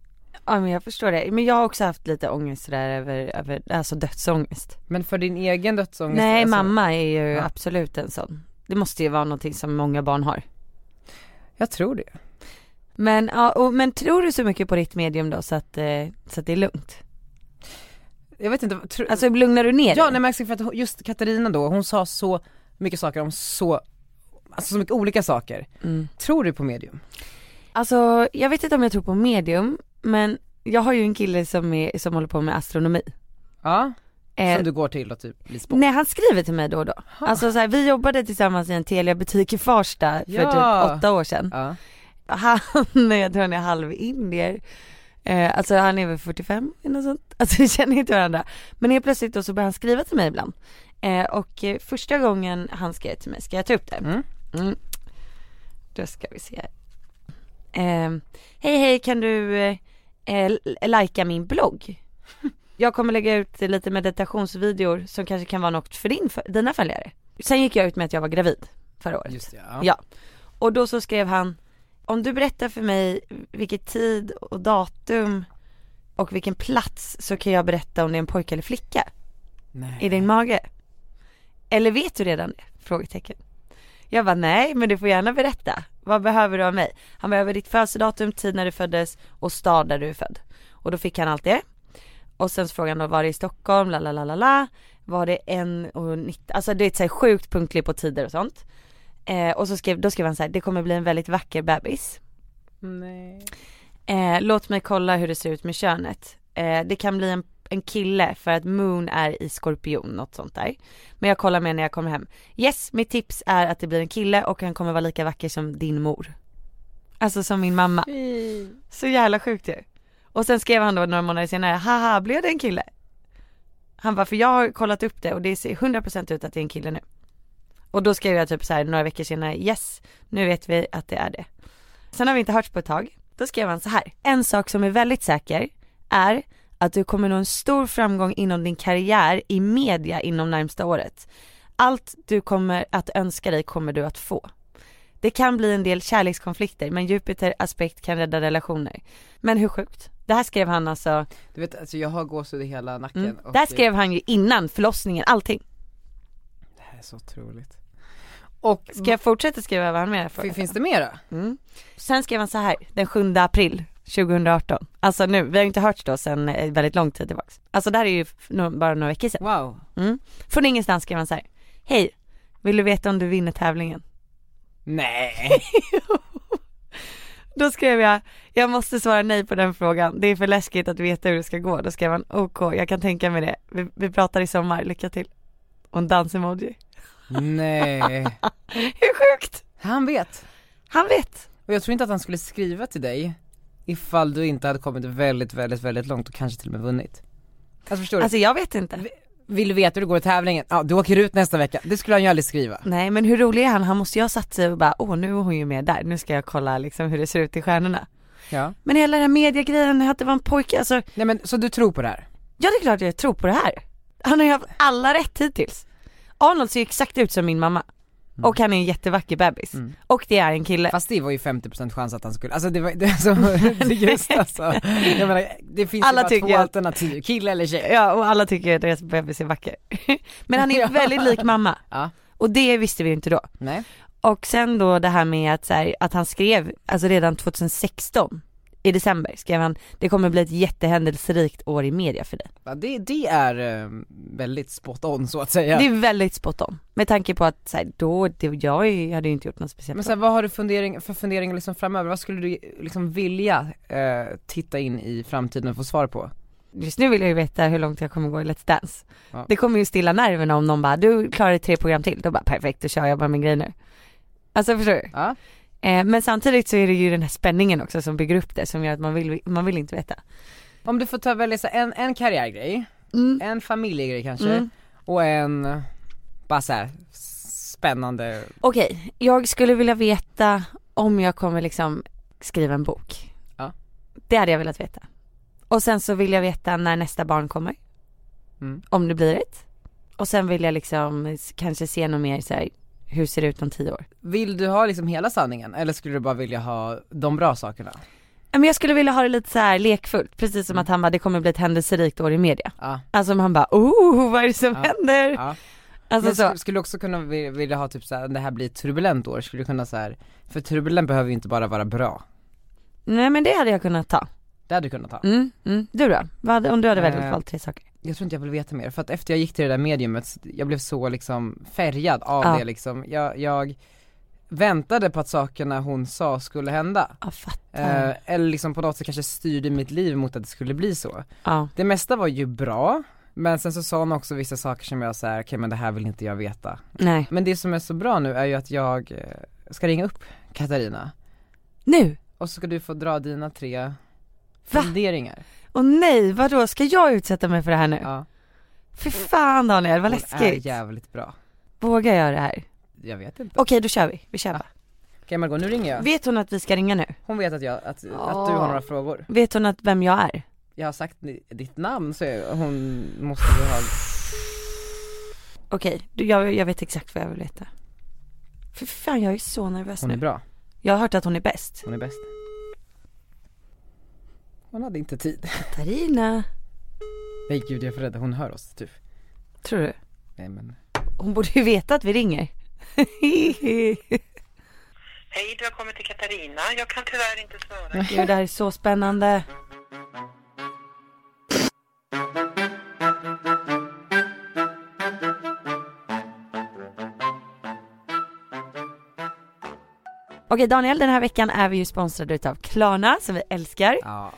S3: Ja men jag förstår det. Men jag har också haft lite ångest sådär över, över alltså dödsångest.
S4: Men för din egen dödsångest
S3: Nej
S4: alltså,
S3: mamma är ju
S4: Ja.
S3: absolut en sån. Det måste ju vara någonting som många barn har.
S4: Jag tror det
S3: Men, ja, och, men tror du så mycket på ditt medium då så att, eh, så att det är lugnt?
S4: Jag vet inte, tro,
S3: Alltså lugnar du ner
S4: Ja
S3: dig?
S4: nej men jag ska- för att hon- just Katarina då, hon sa så mycket saker om så, alltså så mycket olika saker
S3: Mm.
S4: Tror du på medium?
S3: Alltså jag vet inte om jag tror på medium men jag har ju en kille som, är, som håller på med astronomi.
S4: Ja,
S3: Eh,
S4: som du går till och typ blir spådd?
S3: Nej han skriver till mig då och då. Alltså så här, vi jobbade tillsammans i en Telia-butik i Farsta för
S4: Ja.
S3: typ åtta år sedan.
S4: Ja,
S3: Han, jag tror han är halvindier. Eh, alltså han är väl 45 eller något sånt. Alltså vi känner inte varandra. Men helt plötsligt då så börjar han skriva till mig ibland. Eh, och eh, första gången han skrev till mig, ska jag ta upp det?
S4: Mm.
S3: Mm. Då ska vi se. här. Eh, hej hej kan du eh, eh, lajka min blogg? Jag kommer lägga ut lite meditationsvideor som kanske kan vara något för din, för dina följare. Sen gick jag ut med att jag var gravid förra året.
S4: just det,
S3: Ja. Och då så skrev han, om du berättar för mig vilket tid och datum och vilken plats så kan jag berätta om det är en pojke eller flicka
S4: Nej.
S3: i din mage. Eller vet du redan det? Frågetecken. Jag bara nej, men du får gärna berätta. Vad behöver du av mig? Han behöver ditt födelsedatum, tid när du föddes och stad där du är född. Och då fick han allt det. Och sen så frågade han då, var det i Stockholm, la la la la la. Var det en och 19, alltså det är så här sjukt punktligt på tider och sånt. Eh, och så skrev, då skrev han så här, det kommer bli en väldigt vacker bebis.
S4: Nej.
S3: Eh, låt mig kolla hur det ser ut med könet. Eh, det kan bli en, en kille för att Moon är i skorpion, något sånt där. Men jag kollar med när jag kommer hem. Yes, mitt tips är att det blir en kille och han kommer vara lika vacker som din mor. Alltså som min mamma. Så jävla sjukt ju. Och sen skrev han då några månader senare, haha blev det en kille? Han bara, för jag har kollat upp det och det ser 100% ut att det är en kille nu. Och då skrev jag typ så här några veckor senare, yes, nu vet vi att det är det. Sen har vi inte hörts på ett tag. Då skrev han så här. En sak som är väldigt säker är att du kommer nå en stor framgång inom din karriär i media inom närmsta året. Allt du kommer att önska dig kommer du att få. Det kan bli en del kärlekskonflikter men Jupiter aspekt kan rädda relationer. Men hur sjukt? Det här skrev han alltså,
S4: Du vet alltså jag har gåshud i hela nacken
S3: mm,
S4: och
S3: det här skrev han ju innan förlossningen, allting.
S4: Det här är så otroligt Och,
S3: Ska jag fortsätta skriva vad han menar för?
S4: fin- finns det mera?
S3: Mm. Sen skrev han så här, den 7 april 2018. Alltså nu, vi har ju inte hörts då sen eh, väldigt lång tid tillbaks. Alltså det här är ju f- nå- bara några veckor sedan.
S4: Wow
S3: Från ingenstans skrev han så här, hej, vill du veta om du vinner tävlingen?
S4: Nej
S3: Då skrev jag, jag måste svara nej på den frågan, det är för läskigt att veta hur det ska gå. Då skrev han, ok, jag kan tänka mig det, vi, vi pratar i sommar, lycka till. Och en dansemoji.
S4: Nej
S3: Hur sjukt?
S4: Han vet
S3: Han vet.
S4: Och jag tror inte att han skulle skriva till dig Ifall du inte hade kommit väldigt, väldigt, väldigt långt och kanske till och med vunnit Alltså förstår du?
S3: Alltså jag vet inte.
S4: Vill du veta hur det går i tävlingen? Ja, du åker ut nästa vecka. Det skulle han ju aldrig skriva.
S3: Nej men hur rolig är han? Han måste ju ha satt sig och bara, åh nu är hon ju med där, nu ska jag kolla liksom hur det ser ut i stjärnorna.
S4: Ja.
S3: Men hela den här mediegrejen, att det var en pojke, alltså
S4: Nej men, så du tror på det här?
S3: ja det är klart jag tror på det här. Han har ju haft alla rätt hittills. Arnold ser ju exakt ut som min mamma.
S4: Mm.
S3: Och han är en jättevacker bebis. Och det är en kille.
S4: Fast det var ju 50% chans att han skulle, alltså det var, det, alltså, det är just alltså. Jag menar, det finns
S3: Alla
S4: ju bara
S3: tycker
S4: två
S3: att-
S4: alternativ, kille eller tjej.
S3: Ja och alla tycker att deras bebis är vacker. men han är ju väldigt lik mamma.
S4: Ja.
S3: Och det visste vi ju inte då.
S4: Nej.
S3: Och sen då det här med att, så här, att han skrev, alltså redan 2016 i december skrev han, det kommer bli ett jättehändelserikt år i media för dig.
S4: Ja, det, det är eh, väldigt spot on så att säga.
S3: Det är väldigt spot on. Med tanke på att så här, då, det, jag är- hade ju inte gjort något speciellt.
S4: Men sen vad har du fundering, för funderingar liksom framöver? Vad skulle du liksom vilja eh, titta in i framtiden och få svar på?
S3: Just nu vill jag ju veta hur långt jag kommer gå i Let's Dance.
S4: Ja.
S3: Det kommer ju stilla nerverna om någon bara, du klarar tre program till. Då bara perfekt, då kör jag bara min grej nu. Alltså förstår du?
S4: Ja.
S3: Eh, men samtidigt så är det ju den här spänningen också som bygger upp det som gör att man vill, man vill inte veta.
S4: Om du får ta välja så här, en, en karriärgrej,
S3: Mm.
S4: en familjegrej kanske,
S3: Mm.
S4: och en, bara så här, spännande
S3: Okej, jag skulle vilja veta om jag kommer liksom skriva en bok.
S4: Ja.
S3: Det hade jag velat veta. Och sen så vill jag veta när nästa barn kommer.
S4: Mm.
S3: Om det blir ett. Och sen vill jag liksom s- kanske se något mer så här, hur ser det ut om tio år?
S4: Vill du ha liksom hela sanningen eller skulle du bara vilja ha de bra sakerna?
S3: Ja, Men jag skulle vilja ha det lite så här lekfullt, precis
S4: Mm.
S3: som att han bara, det kommer bli ett händelserikt år i media.
S4: Ja.
S3: Alltså om han bara, oh vad är det som
S4: Ja.
S3: händer?
S4: ja.
S3: Alltså
S4: Men
S3: så.
S4: sk- skulle du också kunna vi- vilja ha typ såhär, det här blir ett turbulent år, skulle du kunna såhär, för turbulent behöver ju inte bara vara bra.
S3: Nej men det hade jag kunnat ta.
S4: Det hade du kunnat ha.
S3: Mm, mm. Du då? Vad hade, om du hade
S4: Eh.
S3: velat valt tre saker?
S4: Jag tror inte jag vill veta mer, för att efter jag gick till det där mediumet, jag blev så liksom färgad av
S3: Ja.
S4: det liksom. Jag, jag väntade på att sakerna hon sa skulle hända.
S3: Ja fattar.
S4: Eh, eller liksom på något sätt kanske styrde mitt liv mot att det skulle bli så.
S3: ja.
S4: Det mesta var ju bra, men sen så sa hon också vissa saker som jag såhär, okej men det här vill inte jag veta.
S3: Nej.
S4: Men det som är så bra nu är ju att jag eh, ska ringa upp Katarina
S3: Nu!
S4: och så ska du få dra dina tre
S3: Va?
S4: funderingar.
S3: Och nej, vadå? Ska jag utsätta mig för det här nu?
S4: Ja,
S3: Fy fan Daniel, vad
S4: hon är
S3: läskigt.
S4: jävligt bra.
S3: Vågar jag det här?
S4: Jag vet inte.
S3: Okej, då kör vi. Vi kör bara.
S4: Okej Margot, nu ringer jag.
S3: Vet hon att vi ska ringa nu?
S4: Hon vet att, jag, att, att du
S3: Ja.
S4: har några frågor.
S3: Vet hon att vem jag är?
S4: Jag har sagt ni- ditt namn så jag- hon måste ju ha...
S3: Okej, du, jag, jag vet exakt vad jag vill veta. Fy fan, jag är så nervös
S4: Hon är
S3: nu.
S4: bra,
S3: Jag har hört att hon är bäst.
S4: hon är bäst. Hon hade inte tid.
S3: Katarina.
S4: Nej gud jag är för rädd, hon hör oss typ.
S3: Tror du?
S4: Nej men.
S3: Hon borde ju veta att vi ringer.
S5: Hej, du har kommit till Katarina. Jag kan tyvärr inte svara.
S3: Gud, det här är så spännande. Okej Daniel, den här veckan är vi ju sponsrade utav Klarna som vi älskar.
S4: Ja,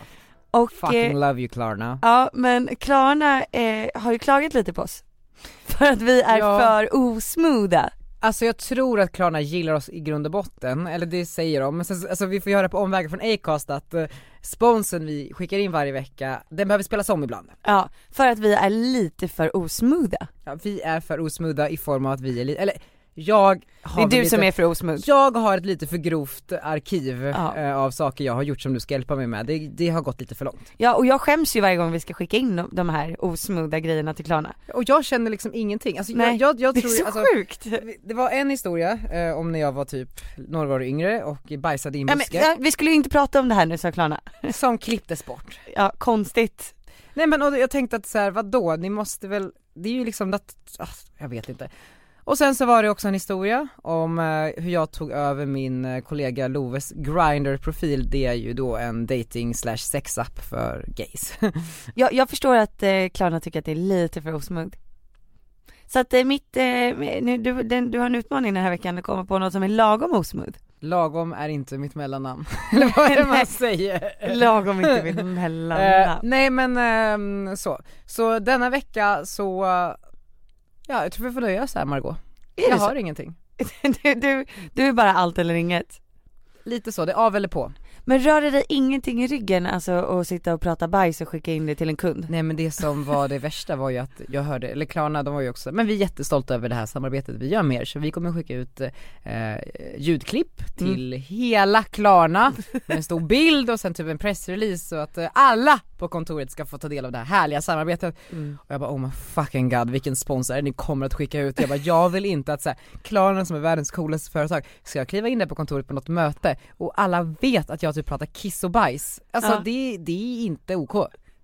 S3: Och,
S4: fucking
S3: eh,
S4: love you Klarna.
S3: ja men Klarna eh, har ju klagat lite på oss. För att vi är
S4: Ja.
S3: för osmooda.
S4: Alltså jag tror att Klarna gillar oss i grund och botten, eller det säger de, men sen, alltså vi får göra på omvägar från Acast att eh, sponsen vi skickar in varje vecka, den behöver spelas om ibland.
S3: Ja, för att vi är lite för osmooda.
S4: Ja, vi är för osmudda i form av att vi är lite, eller jag har
S3: Det är
S4: väl
S3: du
S4: lite,
S3: som är för osmood.
S4: Jag har ett lite för grovt arkiv
S3: Ja.
S4: eh, av saker jag har gjort som du ska hjälpa mig med, det, det har gått lite för långt.
S3: Ja och jag skäms ju varje gång vi ska skicka in de- de här osmooda grejerna till Klarna.
S4: Och jag känner liksom ingenting, alltså
S3: Nej,
S4: jag, jag, jag
S3: Det är
S4: tror
S3: så
S4: alltså,
S3: sjukt.
S4: det var en historia eh, om när jag var typ några år yngre och bajsade i en
S3: Ja, men,
S4: buske,
S3: ja, vi skulle ju inte prata om det här nu sa Klarna.
S4: som klipptes bort.
S3: Ja, konstigt.
S4: Nej men och jag tänkte att så här, vadå, ni måste väl, det är ju liksom att, ah, jag vet inte. Och sen så var det också en historia om eh, hur jag tog över min eh, kollega Loves grinder profil det är ju då en dating slash sexapp för gays.
S3: Jag, jag förstår att eh, Klarna tycker att det är lite för osmooth. Så att eh, mitt, eh, nu, du, den, du har en utmaning den här veckan att komma på något som är lagom osmooth.
S4: Lagom är inte mitt mellannamn, eller vad är det man säger?
S3: Lagom inte mitt
S4: Eh,
S3: mellannamn.
S4: nej men ehm, så, så denna vecka så, eh, ja jag tror vi får nöja oss här Margot.
S3: Är det
S4: Jag
S3: så?
S4: har ingenting.
S3: du, du, du är bara allt eller inget.
S4: Lite så, det är av eller på.
S3: Men rör det dig ingenting i ryggen alltså att sitta och prata bajs och skicka in det till en kund?
S4: Nej men det som var det värsta var ju att jag hörde, eller Klarna de var ju också, men vi är jättestolta över det här samarbetet vi gör med er så vi kommer skicka ut eh, ljudklipp till hela Klarna med en stor bild och sen typ en pressrelease så att eh, alla på kontoret ska få ta del av det här härliga samarbetet. Och jag bara oh my fucking god vilken sponsor ni kommer att skicka ut. Jag bara jag vill inte att så här, Klarna som är världens coolaste företag ska jag kliva in där på kontoret på något möte och alla vet att jag typ pratar kiss och bajs. Alltså
S3: Ja.
S4: det, det är inte OK.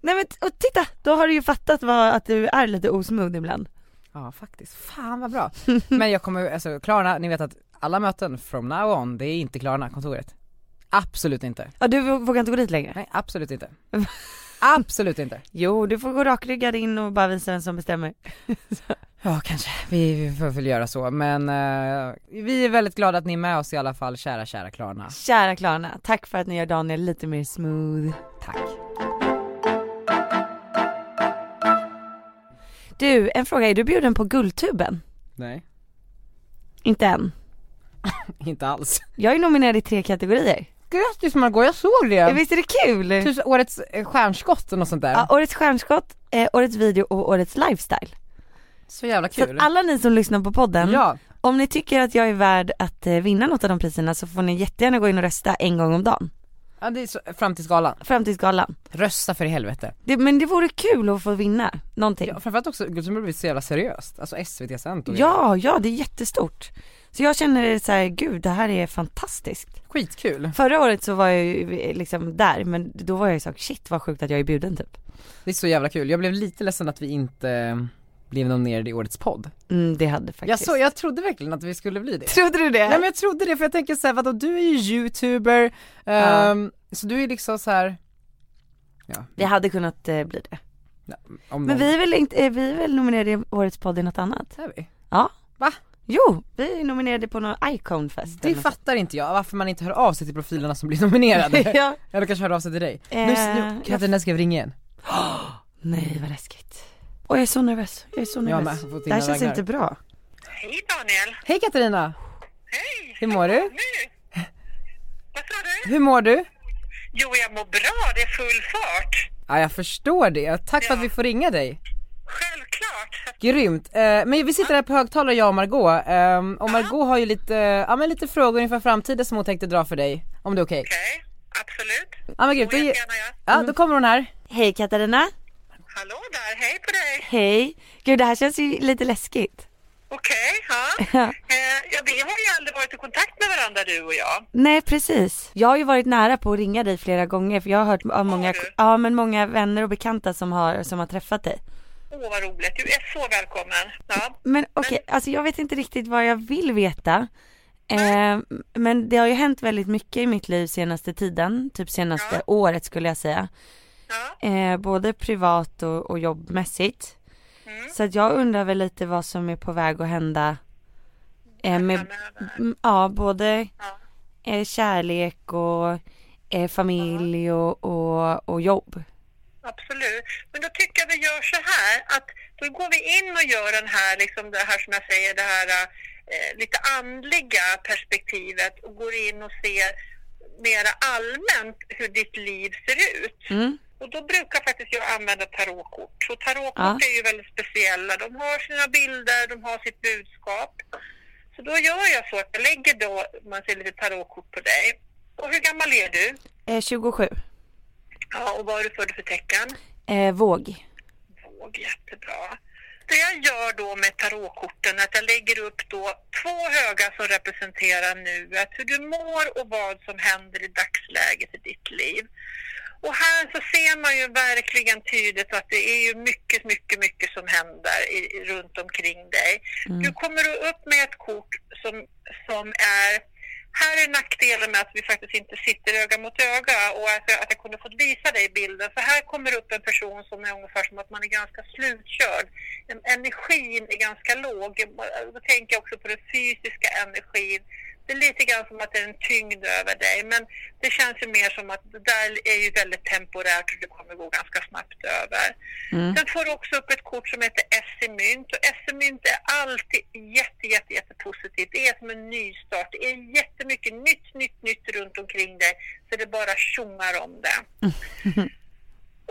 S3: Nej men t- och titta, då har du ju fattat vad, att du är lite osmooth ibland.
S4: Ja faktiskt, fan vad bra. Men jag kommer, alltså Klarna, ni vet att alla möten from now on, det är inte Klarna-kontoret. Absolut inte.
S3: Ja du vå- vågar inte gå dit längre?
S4: Nej absolut inte. Absolut inte.
S3: Jo, du får gå rakryggad in och bara visa vem som bestämmer.
S4: Ja kanske, vi, vi får väl göra så men eh, vi är väldigt glada att ni är med oss i alla fall kära kära Klarna.
S3: Kära Klarna, tack för att ni gör Daniel lite mer smooth.
S4: Tack.
S3: Du, en fråga, är du bjuden på Guldtuben?
S4: Nej,
S3: Inte än.
S4: inte alls.
S3: Jag är nominerad i tre kategorier.
S4: Grattis Margot, jag såg det!
S3: Visst är det kul?
S4: Tusen, årets eh, stjärnskott och något sånt där.
S3: Ja, årets stjärnskott, eh, årets video och årets lifestyle.
S4: så jävla
S3: Så
S4: kul.
S3: att alla ni som lyssnar på podden,
S4: Ja,
S3: om ni tycker att jag är värd att eh, vinna något av de priserna så får ni jättegärna gå in och rösta en gång om dagen.
S4: Ja det är så, framtidsgalan.
S3: Framtidsgalan.
S4: Rösta för i helvete.
S3: Det, men det vore kul att få vinna någonting.
S4: Ja, framförallt också, Guldström har blivit så jävla seriöst. Alltså SVT sänt och
S3: Ja, ja det är jättestort. Så jag känner så här, gud det här är fantastiskt.
S4: Skitkul.
S3: Förra året så var jag ju liksom där men då var jag ju så här, shit vad sjukt att jag är bjuden typ.
S4: Det är så jävla kul. Jag blev lite ledsen att vi inte eh, blev nominerade i årets podd.
S3: Mm, det hade faktiskt.
S4: Jag, så, jag trodde verkligen att vi skulle bli det.
S3: Trodde du det?
S4: Nej men jag trodde det för jag tänker såhär, vadå du är ju youtuber,
S3: Ja.
S4: ehm, så du är liksom så här. Ja,
S3: Det hade kunnat eh, bli det.
S4: om
S3: Men
S4: någon-
S3: vi är väl, inte, är vi är väl nominerade i årets podd i något annat?
S4: Är vi?
S3: Jo, vi är nominerade på någon Iconfest.
S4: Det
S3: eller något
S4: fattar inte jag, varför man inte hör av sig till profilerna som blir nominerade.
S3: sånt. ja.
S4: Eller kanske hör av sig till dig.
S3: Eh,
S4: nu, nu, Katarina skrev ringa igen.
S3: Nej vad läskigt. Och jag är så nervös, jag är så
S4: Mm. Jag
S3: nervös.
S4: med, får
S3: det här
S4: Tina
S3: känns
S4: Ragnar.
S3: inte bra.
S5: Hej Daniel!
S4: Hej Katarina!
S5: Hej!
S4: Hur mår du?
S5: Nu? Vad sa du?
S4: Hur mår du?
S5: Jo, jag mår bra. Det är full fart.
S4: Ja jag förstår det, tack för att
S5: Ja.
S4: vi får ringa dig.
S5: Självklart.
S4: Grymt, eh, men vi sitter här på högtalare jag och Margot ehm, och Margot har ju lite, eh, ja men lite frågor inför framtiden som hon tänkte dra för dig, om det är okej.
S5: Okej, absolut.
S4: Ja men grymt,
S5: Och
S4: då,
S5: jag
S4: ge-
S5: gärna jag.
S4: ja, då kommer hon här.
S3: Hej Katarina.
S5: Hallå där, hej på dig.
S3: Hej. Gud det här känns ju lite läskigt.
S5: Okej, ja. Eh, ja, vi har ju aldrig varit i kontakt med varandra du och jag.
S3: Nej precis. Jag har ju varit nära på att ringa dig flera gånger för jag har hört av många,
S5: du?
S3: ja, men många vänner och bekanta som har, som har träffat dig.
S5: Åh, vad roligt. Du är så välkommen. Ja.
S3: Men okej, alltså jag vet inte riktigt vad jag vill veta. Eh, men det har ju hänt väldigt mycket i mitt liv senaste tiden, typ senaste
S5: Ja.
S3: året skulle jag säga.
S5: Ja.
S3: Eh, både privat och, och jobbmässigt. Så att jag undrar väl lite vad som är på väg att hända. Eh, med,
S5: framöver.
S3: m- ja, både
S5: Ja.
S3: eh, kärlek och eh, familj och, och, och jobb.
S5: Absolut. Men då tycker jag vi gör så här att då går vi in och gör den här, liksom det här som jag säger, det här eh, lite andliga perspektivet och går in och ser mera allmänt hur ditt liv ser ut.
S3: Mm.
S5: Och då brukar faktiskt jag använda tarotkort. Så tarotkort
S3: Ja.
S5: är ju väldigt speciella. De har sina bilder, de har sitt budskap. Så då gör jag så att jag lägger då, man ser lite tarotkort på dig. Och hur gammal är du?
S3: Eh, 27.
S5: Ja, och vad är du född för tecken?
S3: Eh, våg.
S5: våg, jättebra. Det jag gör då med tarotkorten är att jag lägger upp då två höga som representerar nuet, hur du mår och vad som händer i dagsläget i ditt liv. Och här så ser man ju verkligen tydligt att det är ju mycket, mycket, mycket som händer i, i- runt omkring dig. Du kommer upp med ett kort som, som är här är nackdelen med att vi faktiskt inte sitter öga mot öga och att jag, att jag kunde fått visa dig bilden. För här kommer upp en person som är ungefär som att man är ganska slutkörd. En- Energin är ganska låg. Då tänker jag också på den fysiska energin. Det är lite grann som att det är en tyngd över dig men det känns ju mer som att det där är ju väldigt temporärt och det kommer gå ganska snabbt över. Sen får du också upp ett kort som heter Essimynt och Essimynt är alltid jätte, jätte, jätte positivt. Det är som en nystart. Det är jättemycket nytt, nytt, nytt runt omkring dig så det bara tjongar om det.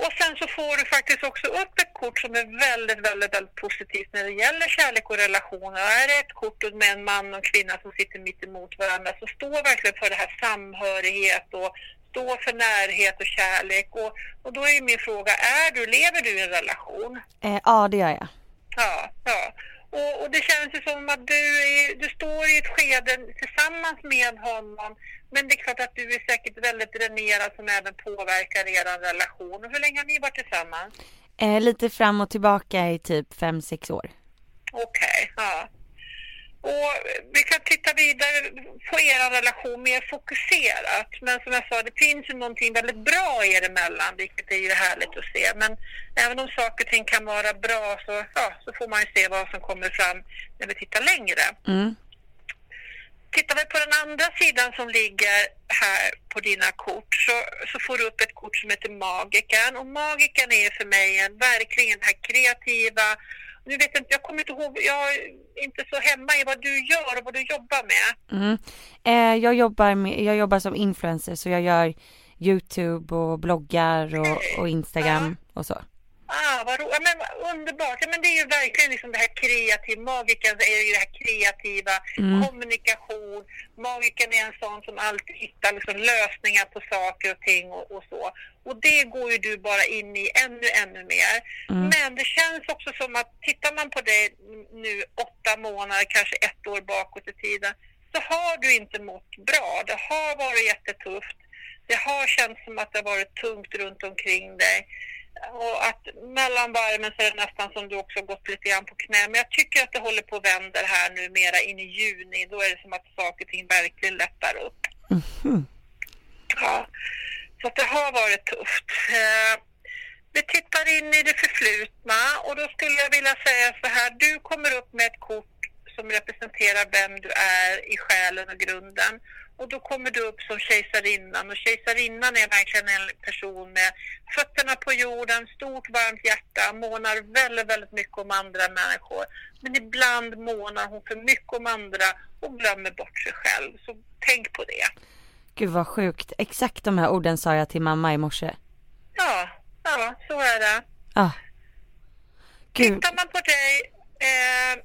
S5: Och sen så får du faktiskt också upp ett kort som är väldigt, väldigt, väldigt positivt när det gäller kärlek och relationer. Och Är det ett kort med en man och en kvinna som sitter mitt emot varandra så står verkligen för det här samhörighet och står för närhet och kärlek. Och, och då är min fråga, är du, lever du i en relation?
S3: Eh, ja, det gör jag.
S5: Ja, ja. Och, och det känns ju som att du, är, du står i ett skede tillsammans med honom. Men det är klart att du är säkert väldigt dränerad som även påverkar er relation. Och hur länge har ni varit tillsammans?
S3: Eh, lite fram och tillbaka i typ 5-6 år.
S5: Okej, ja. Och vi kan titta vidare på er relation mer fokuserat. Men som jag sa, det finns ju någonting väldigt bra er emellan, vilket är ju härligt att se. Men även om saker och ting kan vara bra så, ja, så får man ju se vad som kommer fram när vi tittar längre.
S3: Mm.
S5: Tittar vi på den andra sidan som ligger här på dina kort så, så får du upp ett kort som heter Magikern. Och Magikern är för mig en, verkligen den här kreativa... Nu vet jag inte, jag kommer inte ihåg, jag är inte så hemma i vad du gör och vad du jobbar med.
S3: Mm. Eh, jag, jobbar med, jag jobbar som influencer så jag gör Youtube och bloggar och, och Instagram och så.
S5: Ah, vad ro- ja, men vad underbart. Ja, men det är ju verkligen liksom det här kreativa. Magikern är ju det här kreativa. Kommunikation. Magikern är en sån som alltid hittar liksom lösningar på saker och ting och, och så. Och det går ju du bara in i ännu, ännu mer. Men det känns också som att tittar man på dig nu åtta månader, kanske ett år bakåt i tiden, så har du inte mått bra. Det har varit jättetufft. Det har känts som att det har varit tungt runt omkring dig. Och att mellan varven så är det nästan som du också har gått lite grann på knä. Men jag tycker att det håller på att vända här nu mera in i juni. Då är det som att saker och ting verkligen lättar upp. Ja. Så att det har varit tufft. Eh, Vi tittar in i det förflutna och då skulle jag vilja säga så här. Du kommer upp med ett kort som representerar vem du är i själen och grunden. Och då kommer du upp som kejsarinnan och kejsarinnan är verkligen en person med fötterna på jorden, stort varmt hjärta, månar väldigt, väldigt mycket om andra människor. Men ibland månar hon för mycket om andra och glömmer bort sig själv. Så tänk på det.
S3: Gud vad sjukt. Exakt de här orden sa jag till mamma i morse.
S5: Ja, ja, så är det.
S3: Ah. Gud.
S5: Tittar man på dig, eh,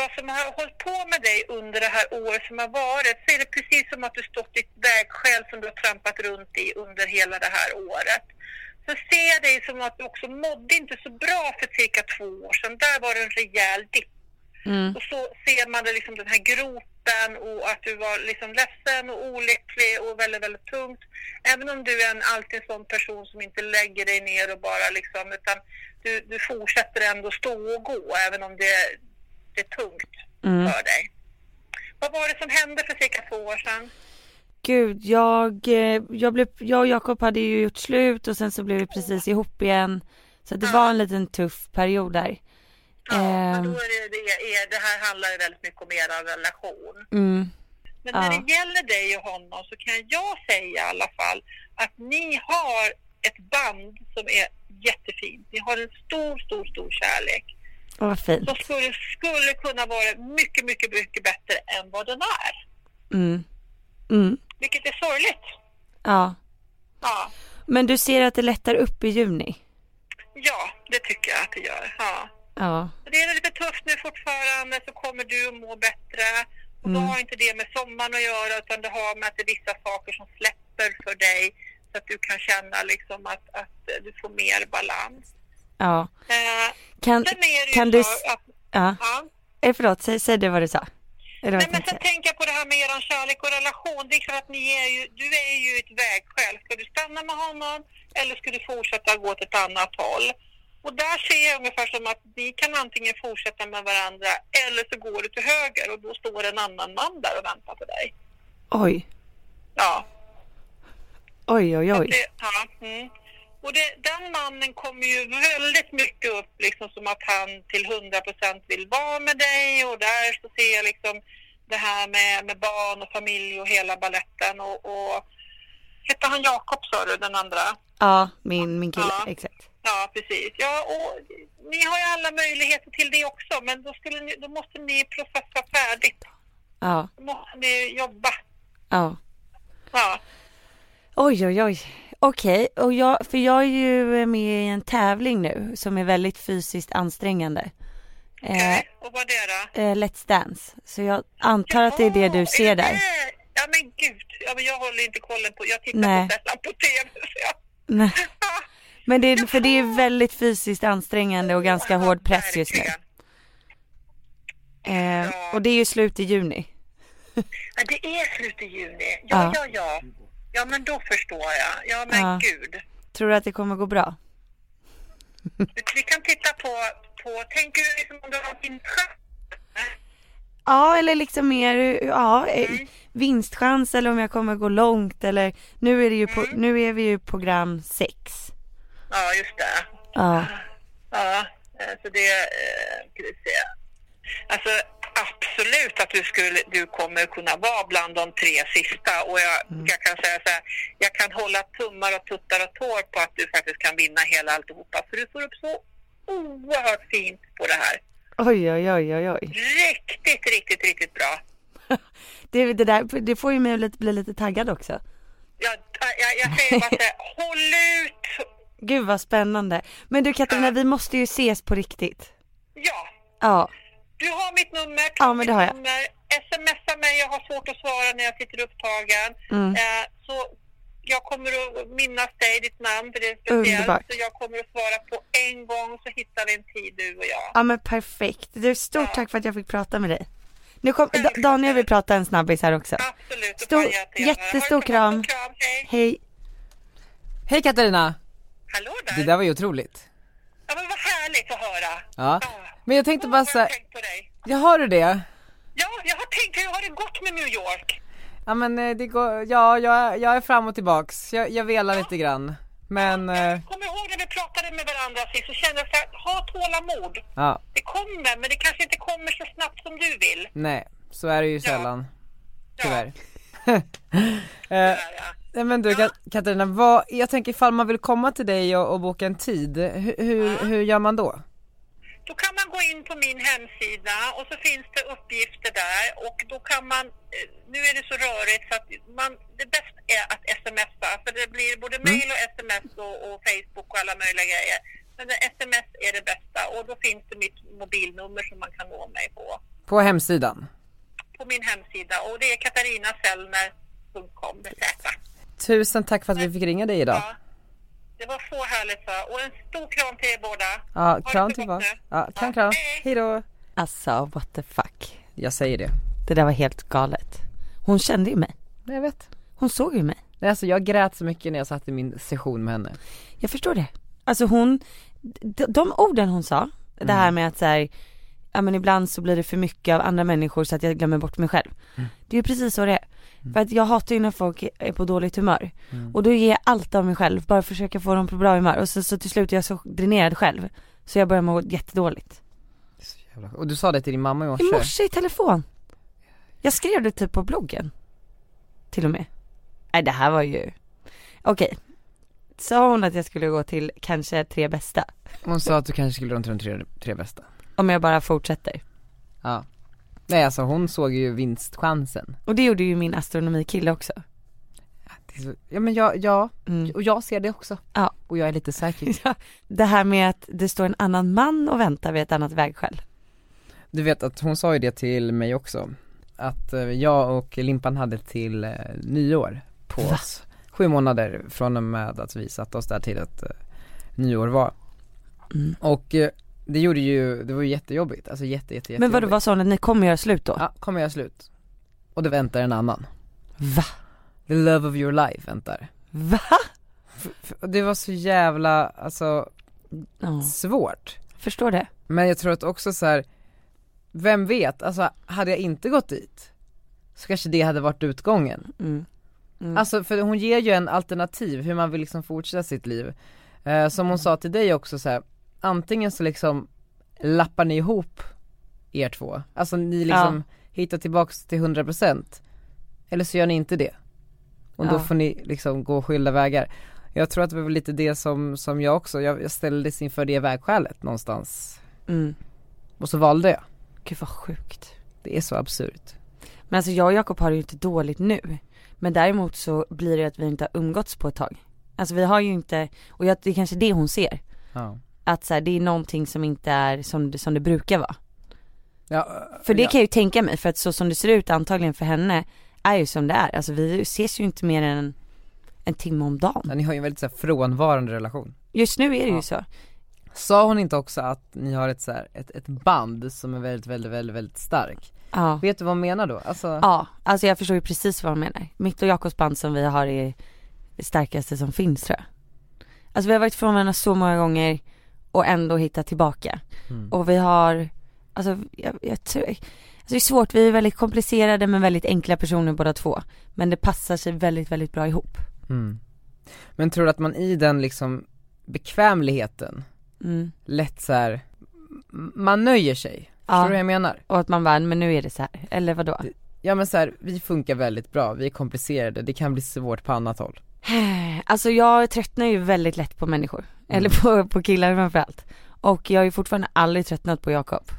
S5: vad som har hållit på med dig under det här året som har varit, så är det precis som att du stått i ett vägskäl som du har trampat runt i under hela det här året. Så ser jag dig som att du också mådde inte så bra för cirka två år sedan. Där var det en rejäl dipp. Och så ser man det liksom den här gropen och att du var liksom ledsen och olycklig och väldigt, väldigt tungt. Även om du är en, alltid en sån person som inte lägger dig ner och bara liksom, utan du, du fortsätter ändå stå och gå även om det, det är tungt för dig. Vad var det som hände för cirka två år sedan?
S3: Gud, jag, eh, jag, blev, jag och Jakob hade ju gjort slut och sen så blev vi precis ihop igen. Så det var en liten tuff period där.
S5: Ja, men
S3: Ehm.
S5: då är det, det, är, det här handlar ju väldigt mycket om er relation.
S3: Mm.
S5: Men
S3: Ja.
S5: när det gäller dig och honom så kan jag säga i alla fall att ni har ett band som är jättefint. Ni har en stor, stor, stor kärlek
S3: Åh, vad fint.
S5: som skulle, skulle kunna vara mycket, mycket, mycket bättre än vad den är.
S3: Mm. Mm.
S5: Vilket är sorgligt.
S3: Ja.
S5: Ja,
S3: Men du ser att det lättar upp i juni?
S5: ja det tycker jag att det gör. Ja.
S3: Ja.
S5: Så Det är lite tufft nu fortfarande så kommer du att må bättre. Och
S3: Mm.
S5: då har inte det med sommaren att göra utan det har med att det är vissa saker som släpper för dig så att du kan känna liksom att, att du får mer balans.
S3: Ja.
S5: Eh,
S3: Kan,
S5: sen är det
S3: kan
S5: ju
S3: du...
S5: så
S3: s-
S5: att,
S3: Ja.
S5: ja.
S3: Eh, förlåt, säg, säg det vad du sa. Eller vad
S5: Nej,
S3: jag
S5: men
S3: tänkte
S5: sen
S3: säga.
S5: tänker jag på det här med er kärlek och relation. Det är klart att ni är ju, du är ju ett vägskäl. Ska du stanna med honom eller ska du fortsätta gå åt ett annat håll? Och där ser jag ungefär som att ni kan antingen fortsätta med varandra eller så går du till höger och då står en annan man där och väntar på dig.
S3: Oj.
S5: Ja,
S3: Oj, oj, oj.
S5: det, ja, mm. Och det, den mannen kommer ju väldigt mycket upp liksom som att han till 100% vill vara med dig och där så ser jag liksom det här med, med barn och familj och hela balletten och, och heter han Jakob sa du, den andra?
S3: Ja, min, min kille.
S5: Ja.
S3: Exakt.
S5: Ja, precis. Ja, och ni har ju alla möjligheter till det också men då, skulle ni, då måste ni processa färdigt.
S3: Ja.
S5: Då måste ni jobba.
S3: Ja.
S5: Ja.
S3: Oj, oj, oj. Okej, och jag, för jag är ju med i en tävling nu som är väldigt fysiskt ansträngande. Eh,
S5: Okej. Och vad är det då?
S3: eh, Let's Dance. Så jag antar att det är det du
S5: Jaha,
S3: ser
S5: är det
S3: där.
S5: det? Ja men gud, ja, men jag håller inte kollen på, jag tittar
S3: Nej.
S5: på sällan på TV. Så jag,
S3: Nej. Men det är, för det är väldigt fysiskt ansträngande och ganska
S5: Ja,
S3: hård press just nu.
S5: verkligen.
S3: Eh, och det är ju slut i juni.
S5: Ja, det är slut i juni,
S3: Ja.
S5: ja ja ja. Ja men då förstår jag, ja men
S3: Ja.
S5: gud.
S3: Tror du att det kommer gå bra?
S5: Vi kan titta på, på tänker du liksom om du har din chans?
S3: Ja, eller liksom mer, ja, eh, vinstchans eller om jag kommer gå långt eller nu är, det ju på, nu är vi ju program sex.
S5: Ja just det.
S3: Ja,
S5: Ja, eh, så det eh, ska vi se. Alltså absolut att du, skulle, du kommer kunna vara bland de tre sista och jag, jag kan säga så här, jag kan hålla tummar och tuttar och tår på att du faktiskt kan vinna hela alltihopa för du får upp så oerhört fint på det här.
S3: oj, oj, oj, oj, oj.
S5: Riktigt, riktigt, riktigt bra.
S3: Det, det, där, det får ju mig att lite- bli lite taggad också.
S5: Jag, jag, jag säger bara så här, håll ut
S3: Gud vad spännande. Men du Katarina, vi måste ju ses på riktigt.
S5: Ja,
S3: Ja,
S5: du har mitt nummer.
S3: Ja, men det har jag.
S5: mitt Nummer. Smsa mig, jag har svårt att svara när jag sitter upptagen.
S3: Mm.
S5: Eh, så jag kommer att minnas dig, ditt namn, för det är speciellt.
S3: Underbart.
S5: Så jag kommer att svara på en gång så hittar vi en tid du och jag.
S3: ja men perfekt. Du, stort tack för att jag fick prata med dig. Nu kom, Da- Daniel vill prata en snabbis här också.
S5: Absolut.
S3: Stor-
S5: Stor,
S3: jättestor kram.
S5: kram. Hej.
S3: Hej.
S4: Hej Katarina!
S5: Hallå
S4: Det
S5: där.
S4: där var ju otroligt.
S5: Ja, men vad härligt att höra.
S4: Ja. Men jag tänkte bara
S5: Åh, vad
S4: såhär,
S5: jag har tänkt på dig.
S4: jag har du det?
S5: Ja, jag har tänkt, hur har det gått med New York?
S4: Ja men eh, det går, ja jag, jag är fram och tillbaks, jag, jag velar lite grann. Men, eh,
S5: Kom ihåg när vi pratade med varandra sist så kände jag så här, ha tålamod.
S4: ja,
S5: Det kommer, men det kanske inte kommer så snabbt som du vill.
S4: nej, så är det ju sällan,
S5: Ja,
S4: tyvärr.
S5: så
S4: eh,
S5: här, ja.
S4: nej, men du Kat- Katarina, vad, jag tänker ifall man vill komma till dig och, och boka en tid, hur, hur, hur gör man då?
S5: Då kan man gå in på min hemsida och så finns det uppgifter där och då kan man, eh, nu är det så rörigt så att man, det bästa är att smsa för det blir
S4: Mm.
S5: både mail och sms och, och Facebook och alla möjliga grejer. Men det- sms är det bästa och då finns det mitt mobilnummer som man kan nå mig på,
S4: På hemsidan.
S5: på min hemsida och det är katarinasellner.com med Z.
S4: Tusen tack för att vi fick ringa dig idag.
S5: Ja. Det var så härligt va? och en stor kram till er båda. Ha
S4: Ja,
S5: det
S4: kram
S5: så
S4: till
S5: gott
S4: oss.
S5: nu.
S4: Ja, kram kram. Hej då.
S3: Alltså what the fuck.
S4: Jag säger det.
S3: Det där var helt galet. Hon kände ju mig.
S4: Nej, Jag vet.
S3: Hon såg ju mig.
S4: Nej, alltså jag grät så mycket när jag satt i min session med henne.
S3: Jag förstår det. Alltså hon, de, de orden hon sa, det här med att så här, ja men ibland så blir det för mycket av andra människor så att jag glömmer bort mig själv. Det är ju precis så det är. För att jag hatar ju när folk är på dåligt humör. Och då ger jag allt av mig själv, bara försöka få dem på bra humör. Och så, så till slut är jag så dränerad själv. Så jag börjar må jättedåligt.
S4: Det är så jävla- Och du sa det till din mamma i morse.
S3: I morse i telefon. Jag skrev det typ på bloggen. Till och med. Nej det här var ju, okej. Sa hon att jag skulle gå till kanske tre bästa?
S4: Hon sa att du kanske skulle runt de tre, tre bästa.
S3: Om jag bara fortsätter.
S4: Ja. Nej alltså hon såg ju vinstchansen.
S3: Och det gjorde ju min astronomikille också.
S4: Det är så- Ja men jag, ja,
S3: Mm.
S4: och jag ser det också.
S3: Ja.
S4: Och jag är lite säker.
S3: Det här med att det står en annan man och väntar vid ett annat vägskäl.
S4: Du vet att hon sa ju det till mig också. Att eh, jag och Limpan hade till eh, nyår på
S3: Va?
S4: oss. Sju månader från och med att vi satte oss där till att eh, nyår var.
S3: Mm.
S4: Och eh, det gjorde ju, det var ju jättejobbigt. Alltså jätte, jätte, jättejobbigt.
S3: Men vad var sån att ni kommer göra slut då?
S4: Ja, kommer jag slut. Och det väntar en annan.
S3: Va?
S4: The love of your life väntar.
S3: Va?
S4: F- f- och det var så jävla, alltså
S3: Ja,
S4: svårt.
S3: förstår det.
S4: Men jag tror att också så här. vem vet, alltså hade jag inte gått dit så kanske det hade varit utgången.
S3: Mm. Mm.
S4: Alltså för hon ger ju en alternativ hur man vill liksom fortsätta sitt liv. Eh, som hon sa till dig också så här, antingen så liksom lappar ni ihop er två, alltså ni liksom hittar tillbaks till 100% eller så gör ni inte det. Och då
S3: Ja.
S4: får ni liksom gå skilda vägar. Jag tror att det var väl lite det som, som jag också, jag, jag ställdes inför det vägskälet någonstans
S3: Mm.
S4: och så valde jag.
S3: Gud vad sjukt.
S4: Det är så absurt.
S3: Men alltså jag och Jakob har det ju inte dåligt nu. Men däremot så blir det att vi inte har umgåtts på ett tag. Alltså vi har ju inte, och jag, det är kanske det hon ser.
S4: Ja.
S3: Att så här, det är någonting som inte är som, det- som det brukar vara.
S4: Ja,
S3: För det
S4: ja.
S3: kan jag ju tänka mig, för att så som det ser ut antagligen för henne är ju som det är. Alltså vi ses ju inte mer än en, en timme om dagen.
S4: Ja, Ni har ju en väldigt så här, frånvarande relation.
S3: Just nu är det
S4: Ja.
S3: ju så.
S4: Sa hon inte också att ni har ett, så här, ett, ett band som är väldigt, väldigt, väldigt, väldigt stark?
S3: Ja.
S4: Vet du vad hon menar då? Alltså,
S3: ja, alltså jag förstår ju precis vad hon menar. Mitt och Jakobs band som vi har är det starkaste som finns tror jag. Alltså vi har varit från varandra så många gånger och ändå hittat tillbaka.
S4: Mm.
S3: Och vi har, alltså jag, jag tror, alltså det är svårt, vi är väldigt komplicerade men väldigt enkla personer båda två. Men det passar sig väldigt, väldigt bra ihop.
S4: Mm. Men tror du att man i den liksom bekvämligheten
S3: Mm.
S4: lätt så här, m- man nöjer sig? Förstår
S3: Ja.
S4: du vad jag menar?
S3: Och att man bara, men nu är det så här. Eller vadå?
S4: Ja men så här, vi funkar väldigt bra, vi är komplicerade, det kan bli svårt på annat håll.
S3: Alltså jag tröttnar ju väldigt lätt på människor.
S4: Mm.
S3: Eller på, på killar framförallt. Och jag har ju fortfarande aldrig tröttnat på Jakob.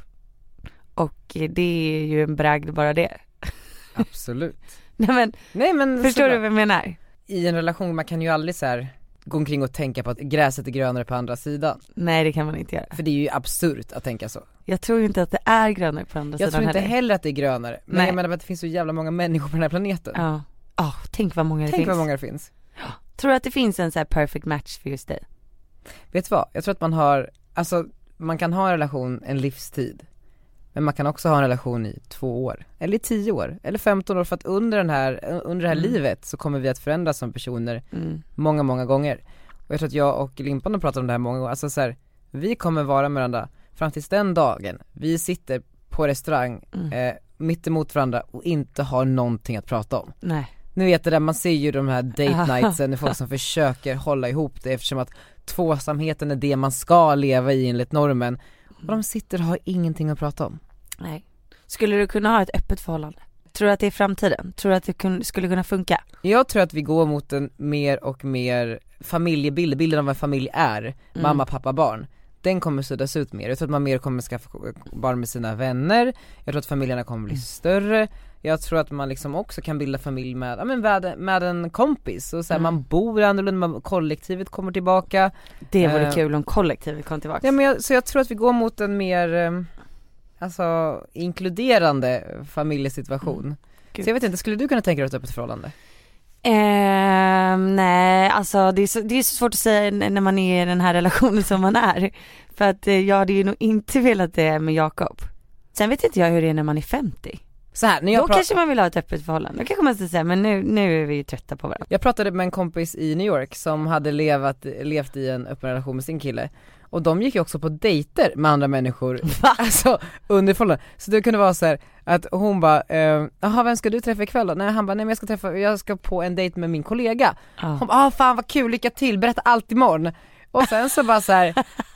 S3: Och det är ju en bragd bara det.
S4: Mm, Absolut.
S3: Nej men
S4: Nej men
S3: förstår du
S4: såklart.
S3: vad jag menar?
S4: i en relation, man kan ju aldrig så här gå omkring och tänka på att gräset är grönare på andra sidan.
S3: Nej det kan man inte göra.
S4: För det är ju absurt att tänka så.
S3: Jag tror ju inte att det är grönare på andra
S4: Jag
S3: sidan
S4: tror inte
S3: heller.
S4: heller att det är grönare, men
S3: Nej.
S4: jag menar bara att det finns så jävla många människor på den här planeten.
S3: Ja. Ja, tänk vad många det
S4: Tänk
S3: finns.
S4: vad många det finns.
S3: Tror du att det finns en så här perfect match för just dig?
S4: Vet du vad? Jag tror att man har, alltså man kan ha en relation en livstid. Men man kan också ha en relation i två år, eller i tio år, eller 15 år för att under, den här, under det här livet så kommer vi att förändras som personer
S3: Mm.
S4: många, många gånger. Och jag tror att jag och Limpan har pratat om det här många gånger, alltså så här, vi kommer vara med varandra fram tills den dagen vi sitter på restaurang eh, mitt emot varandra och inte har någonting att prata om.
S3: Nej.
S4: Ni vet det där, man ser ju de här date nightsen, det är folk som försöker hålla ihop det eftersom att tvåsamheten är det man ska leva i enligt normen. Och de sitter och har ingenting att prata om.
S3: Nej. Skulle du kunna ha ett öppet förhållande? Tror du att det är framtiden? Tror du att det kun, skulle kunna funka?
S4: Jag tror att vi går mot en mer och mer familjebild, bilden av vad en familj är,
S3: Mm.
S4: mamma, pappa, barn. Den kommer suddas ut mer, jag tror att man mer kommer skaffa barn med sina vänner, jag tror att familjerna kommer
S3: Mm.
S4: bli större, jag tror att man liksom också kan bilda familj med, ja, men med, med en kompis, och så
S3: Mm.
S4: här, man bor annorlunda, man- kollektivet kommer tillbaka.
S3: Det vore
S4: Eh.
S3: kul om kollektivet kom tillbaka.
S4: Ja, men jag, så jag tror att vi går mot en mer, eh, alltså inkluderande familjesituation.
S3: Mm. Gud.
S4: Så jag vet inte, skulle du kunna tänka dig ett öppet förhållande?
S3: Ehm, nej, alltså det är, så, det är så svårt att säga n- när man är i den här relationen som man är. För att eh, jag hade ju nog inte velat det med Jakob. Sen vet inte jag hur det är när man är 50.
S4: Så här, när
S3: Då
S4: jag, pra-
S3: kanske man vill ha ett öppet förhållande. Då kanske man ska säga, men nu, nu är vi ju trötta på varandra.
S4: jag pratade med en kompis i New York som hade levat, levt i en öppen relation med sin kille och de gick ju också på dejter med andra människor, alltså under förhållanden. Så det kunde vara så här att hon bara, eh, jaha vem ska du träffa ikväll då? Nej han bara, nej men jag ska träffa, jag ska på en dejt med min kollega.
S3: Ja.
S4: Hon bara, ah, fan vad kul, lycka till, berätta allt imorgon. Och sen så bara så, här,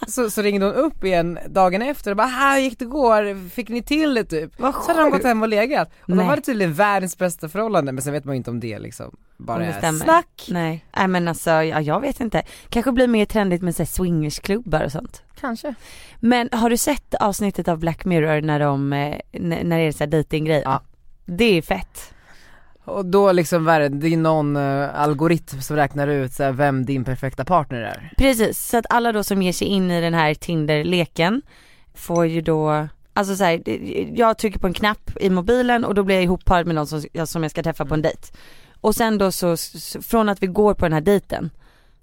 S4: så, så ringde hon upp igen dagen efter och bara, här gick det igår, fick ni till det typ?
S3: Vad
S4: Så hade de gått hem och legat. Och de
S3: Nej.
S4: hade tydligen världens bästa förhållande men sen vet man ju inte om det liksom bara
S3: Om det
S4: är
S3: stämmer.
S4: snack.
S3: Nej. Nej men alltså, ja, jag vet inte. Kanske blir mer trendigt med så här swingersklubbar och sånt.
S4: Kanske.
S3: Men har du sett avsnittet av Black Mirror när de, eh, n- när det är så här dejtinggrejer?
S4: Ja.
S3: Det är fett.
S4: Och då liksom, vad är det, det är någon eh, algoritm som räknar ut så här, vem din perfekta partner är.
S3: Precis, så att alla då som ger sig in i den här Tinder-leken får ju då, alltså så här, det- jag trycker på en knapp i mobilen och då blir jag ihopparad med någon som, jag- som jag ska träffa på en dejt. Och sen då så, s- från att vi går på den här dejten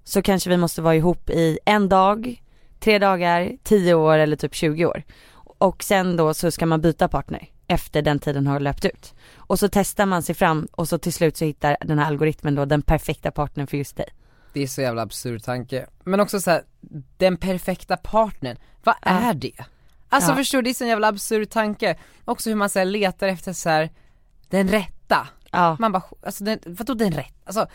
S3: så kanske vi måste vara ihop i en dag, tre dagar, tio år eller typ 20 år. Och sen då så ska man byta partner efter den tiden har löpt ut. Och så testar man sig fram och så till slut så hittar den här algoritmen då den perfekta partnern för just dig.
S4: Det är så jävla absurd tanke. Men också så här, den perfekta partnern, vad är det? Alltså
S3: Ja.
S4: förstår du, det är så en jävla absurd tanke. Också hur man så här, letar efter så här, den rätta.
S3: Ja.
S4: Man bara, alltså den, vadå den rätta? Alltså,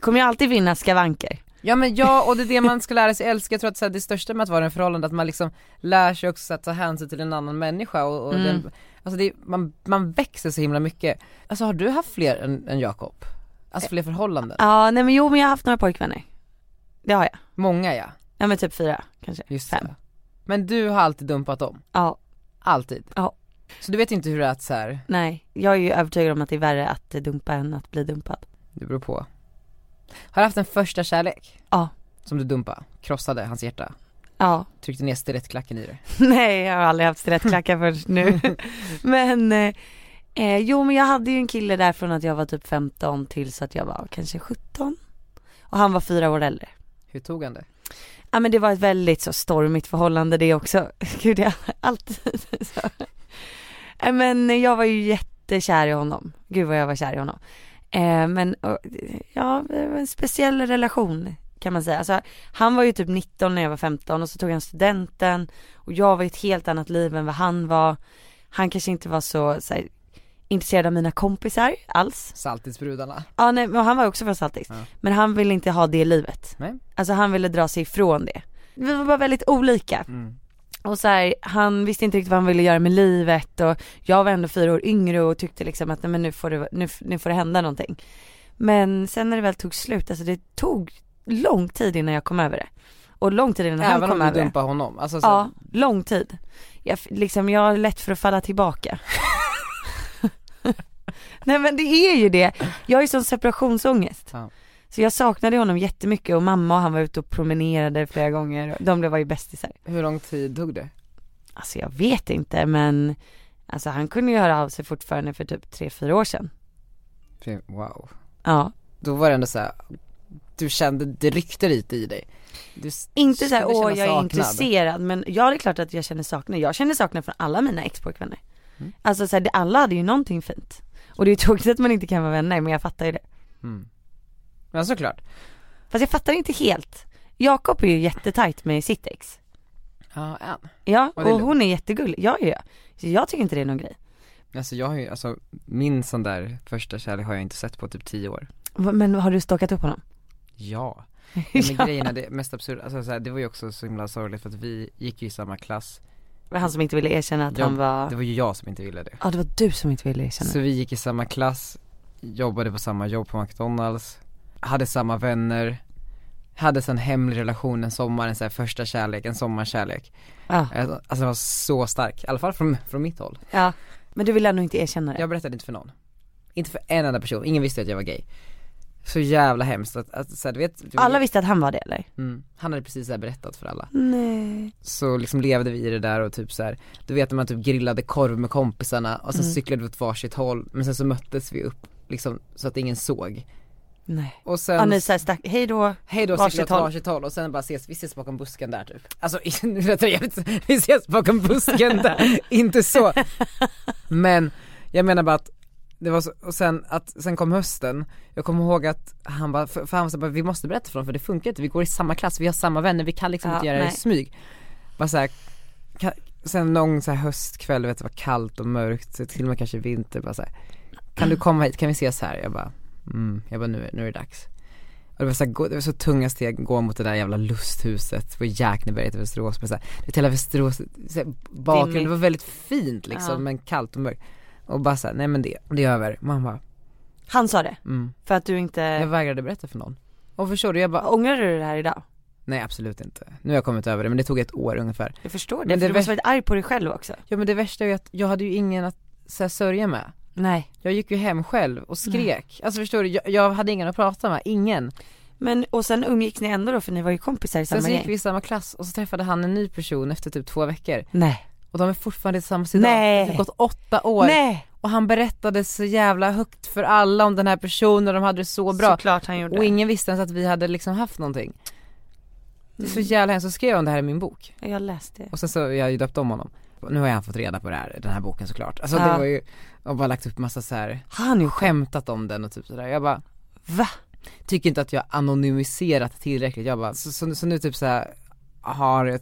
S3: kommer jag alltid vinna skavanker.
S4: Ja men ja, och det är det man ska lära sig älska, jag tror att så här, det största med att vara i en förhållande är att man liksom lär sig också så att ta hänsyn till en annan människa och, och
S3: Mm.
S4: den, alltså det, är- man, man växer så himla mycket. Alltså har du haft fler än, än Jakob? Alltså
S3: Eh,
S4: fler förhållanden?
S3: Ja, nej men jo men jag har haft några pojkvänner. Det har jag.
S4: Många ja,
S3: Ja men typ fyra kanske.
S4: just
S3: Fem.
S4: det. Men du har alltid dumpat dem,
S3: Ja,
S4: alltid.
S3: Ja.
S4: Så du vet inte hur det är att så här,
S3: nej. Jag är ju övertygad om att det är värre att dumpa än att bli dumpad.
S4: det beror på. Har du haft en första kärlek?
S3: Ja.
S4: Som du dumpade, krossade hans hjärta,
S3: Ja,
S4: tryckte ner stilettklacken i det.
S3: nej jag har aldrig haft stilettklackar förrän nu. men, eh, eh, jo men jag hade ju en kille där från att jag var typ 15 tills att jag var kanske 17. Och han var fyra år äldre.
S4: Hur tog han det?
S3: Ja men det var ett väldigt så stormigt förhållande det också. Gud jag alltid så. Nej, Men jag var ju jättekär i honom. Gud vad jag var kär i honom. Eh, Men och, ja, det var en speciell relation kan man säga. Alltså, han var ju typ 19 när jag var 15 och så tog han studenten och jag var i ett helt annat liv än vad han var. Han kanske inte var så, så här, intresserad av mina kompisar alls.
S4: Saltisbrudarna.
S3: Ja nej, men han var också från Saltis.
S4: Ja.
S3: Men han ville inte ha det livet.
S4: Nej.
S3: Alltså han ville dra sig ifrån det. Vi var bara väldigt olika.
S4: Mm.
S3: Och så här, han visste inte riktigt vad han ville göra med livet och jag var ändå fyra år yngre och tyckte liksom att nej, men nu, får det, nu, nu får det hända någonting. Men sen när det väl tog slut, alltså det tog lång tid innan jag kom över det. Och lång tid innan han
S4: Även om
S3: kom
S4: du
S3: över det.
S4: dumpade honom? Alltså, så här,
S3: Ja, lång tid. Jag, f- liksom, jag har lätt för att falla tillbaka. Nej men det är ju det. Jag är ju sån separationsångest.
S4: Ja.
S3: Så jag saknade honom jättemycket och mamma och han var ute och promenerade flera gånger. De blev var ju bästisar.
S4: Hur lång tid tog det?
S3: Alltså jag vet inte men alltså han kunde ju höra av sig fortfarande för typ 3-4 år sedan.
S4: Tre- Wow.
S3: Ja.
S4: Då var det ändå såhär, du kände, det ryckte lite i dig. Du s-
S3: Inte såhär,
S4: kunde
S3: åh
S4: känna
S3: jag är
S4: saknad."
S3: intresserad men ja det är klart att jag känner saknad. Jag känner saknad från alla mina expojkvänner.
S4: Mm.
S3: Alltså så här, det, alla hade ju någonting fint. Och det är ju tråkigt att man inte kan vara vänner men jag fattar ju det.
S4: Mm. Ja såklart.
S3: Fast jag fattar inte helt. Jakob är ju jättetajt med sitt ex.
S4: Ja, en.
S3: Ja,
S4: Och det är
S3: och
S4: lugnt.
S3: hon är jättegullig. Ja, ja, ja. Så jag tycker inte det är någon grej.
S4: Alltså jag har ju, alltså min sån där första kärlek har jag inte sett på typ tio år.
S3: Va- Men har du stalkat upp honom?
S4: Ja. Men ja. grejen är det mest absurda, alltså så här, det var ju också så himla sorgligt för att vi gick ju i samma klass.
S3: Var Han som inte ville erkänna att
S4: Jag-
S3: han var...
S4: Det var ju jag som inte ville det.
S3: Ja, det var du som inte ville erkänna.
S4: Så vi gick i samma klass, jobbade på samma jobb på McDonalds, hade samma vänner, hade en hemlig relation en sommar, en så här första kärlek, en sommarkärlek.
S3: Ja.
S4: Alltså alltså, den var så stark, i alla fall från, från mitt håll.
S3: ja. Men du ville ändå inte erkänna det.
S4: Jag berättade inte för någon. Inte för en enda person, ingen visste att jag var gay. Så jävla hemskt att, att så här, du vet, du,
S3: Alla visste att han var det eller?
S4: mm, han hade precis så här berättat för alla.
S3: Nej.
S4: Så liksom levde vi i det där och typ så här. du vet när man typ grillade korv med kompisarna och
S3: Mm.
S4: sen cyklade vi åt varsitt håll, men sen så möttes vi upp liksom så att ingen såg.
S3: Nej.
S4: Och
S3: Ja,
S4: sen
S3: ni såhär stack, hej då.
S4: Hej då,
S3: Varsitt
S4: varsitt
S3: håll.
S4: håll. varsitt håll och sen bara ses, vi ses bakom busken där typ. Alltså nu lät det jävligt, vi ses bakom busken där, inte så. Men jag menar bara att det var så, och sen att, sen kom hösten, jag kommer ihåg att han bara, för, för han var så bara, vi måste berätta för dem för det funkar inte, vi går i samma klass, vi har samma vänner, vi kan liksom
S3: Ja,
S4: inte göra
S3: nej.
S4: det i smyg. Bara så här, ka, sen någon så här höstkväll, du vet det var kallt och mörkt, så till och med kanske vinter, bara så här, kan du komma hit, kan vi ses här? Jag bara, mm, jag bara nu, är- nu är det dags. Och det var så, här, gå- det var så tunga steg, gå mot det där jävla lusthuset på Jäkneberget i Västerås, men så här, det hela Västerås, så här, bakgrunden,
S3: Dimmigt.
S4: det var väldigt fint liksom
S3: Ja.
S4: men kallt och mörkt. Och bara såhär, nej men det, det är över. Mamma,
S3: Han sa det.
S4: mm.
S3: För att du inte...
S4: Jag vägrade berätta för någon. Och förstår du, jag bara,
S3: Ångrar du det här idag?
S4: nej absolut inte. Nu har jag kommit över det men det tog ett år ungefär.
S3: Jag förstår det.
S4: Men
S3: för
S4: det
S3: du
S4: vä-
S3: måste varit arg på dig själv också.
S4: Ja men det värsta är ju att jag hade ju ingen att så här, sörja med.
S3: Nej.
S4: Jag gick ju hem själv och skrek. Alltså förstår du, jag, jag hade ingen att prata med, ingen.
S3: Men, och sen umgicks ni ändå då för ni var ju kompisar i
S4: Sen
S3: samma
S4: så
S3: gäng.
S4: gick vi i samma klass och så träffade han en ny person efter typ två veckor.
S3: Nej.
S4: Och de är fortfarande tillsammans idag.
S3: Nej.
S4: Det har gått åtta år.
S3: Nej.
S4: Och han berättade så jävla högt för alla om den här personen och de hade det så bra.
S3: Såklart han gjorde.
S4: Och ingen visste ens att vi hade liksom haft någonting. Det är
S3: Mm.
S4: så jävla hemskt, så skrev jag om det här i min bok.
S3: det. Jag läste det.
S4: Och sen så, jag har ju döpt om honom. Och nu har han fått reda på det här, den här boken såklart. Alltså
S3: Ja.
S4: det var ju, och bara lagt upp massa så här
S3: Han gjorde
S4: skämtat om den och typ sådär. Jag bara,
S3: Va?
S4: tycker inte att jag anonymiserat tillräckligt. Jag bara, så, så, så nu typ så här har jag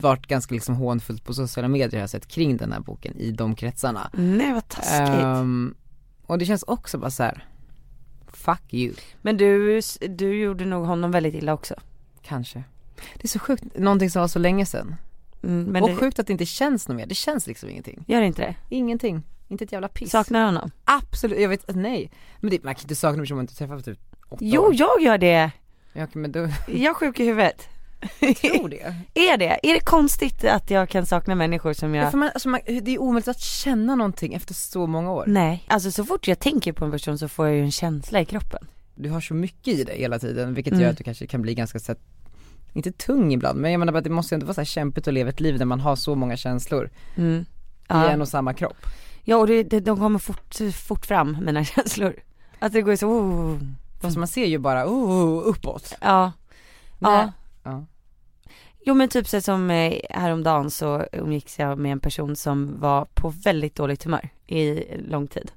S4: varit ganska liksom hånfullt på sociala medier har jag sett kring den här boken i de kretsarna.
S3: Nej vad taskigt.
S4: Ehm, och det känns också bara så här. fuck you.
S3: Men du, du gjorde nog honom väldigt illa också.
S4: Kanske. Det är så sjukt, någonting som var så länge sedan.
S3: Mm, men
S4: och
S3: det,
S4: sjukt att det inte känns något mer, det känns liksom ingenting.
S3: gör inte det?
S4: Ingenting. Inte ett jävla piss.
S3: Saknar honom?
S4: Absolut, jag vet, nej. Men det, man kan inte sakna personer man inte träffat på typ åtta
S3: Jo,
S4: år.
S3: jag gör det.
S4: Ja, okej, men då,
S3: Jag är sjuk i huvudet.
S4: tror det.
S3: är det? Är det konstigt att jag kan sakna människor som
S4: Ja.
S3: jag...
S4: För man, alltså man, det är omöjligt att känna någonting efter så många år.
S3: Nej, alltså så fort jag tänker på en person så får jag ju en känsla i kroppen.
S4: Du har så mycket i dig hela tiden vilket
S3: Mm.
S4: gör att du kanske kan bli ganska så här, inte tung ibland men jag menar bara att det måste ju ändå vara så här kämpigt att leva ett liv där man har så många känslor
S3: Mm.
S4: i en
S3: Ja.
S4: och samma kropp.
S3: ja, och det, det, de kommer fort, fort fram, mina känslor. Att det går så... Oh.
S4: Fast man ser ju bara oh, uppåt.
S3: Ja.
S4: Nej.
S3: ja.
S4: Ja.
S3: Jo men typ så som eh, häromdagen så umgicks jag med en person som var på väldigt dåligt humör i lång tid.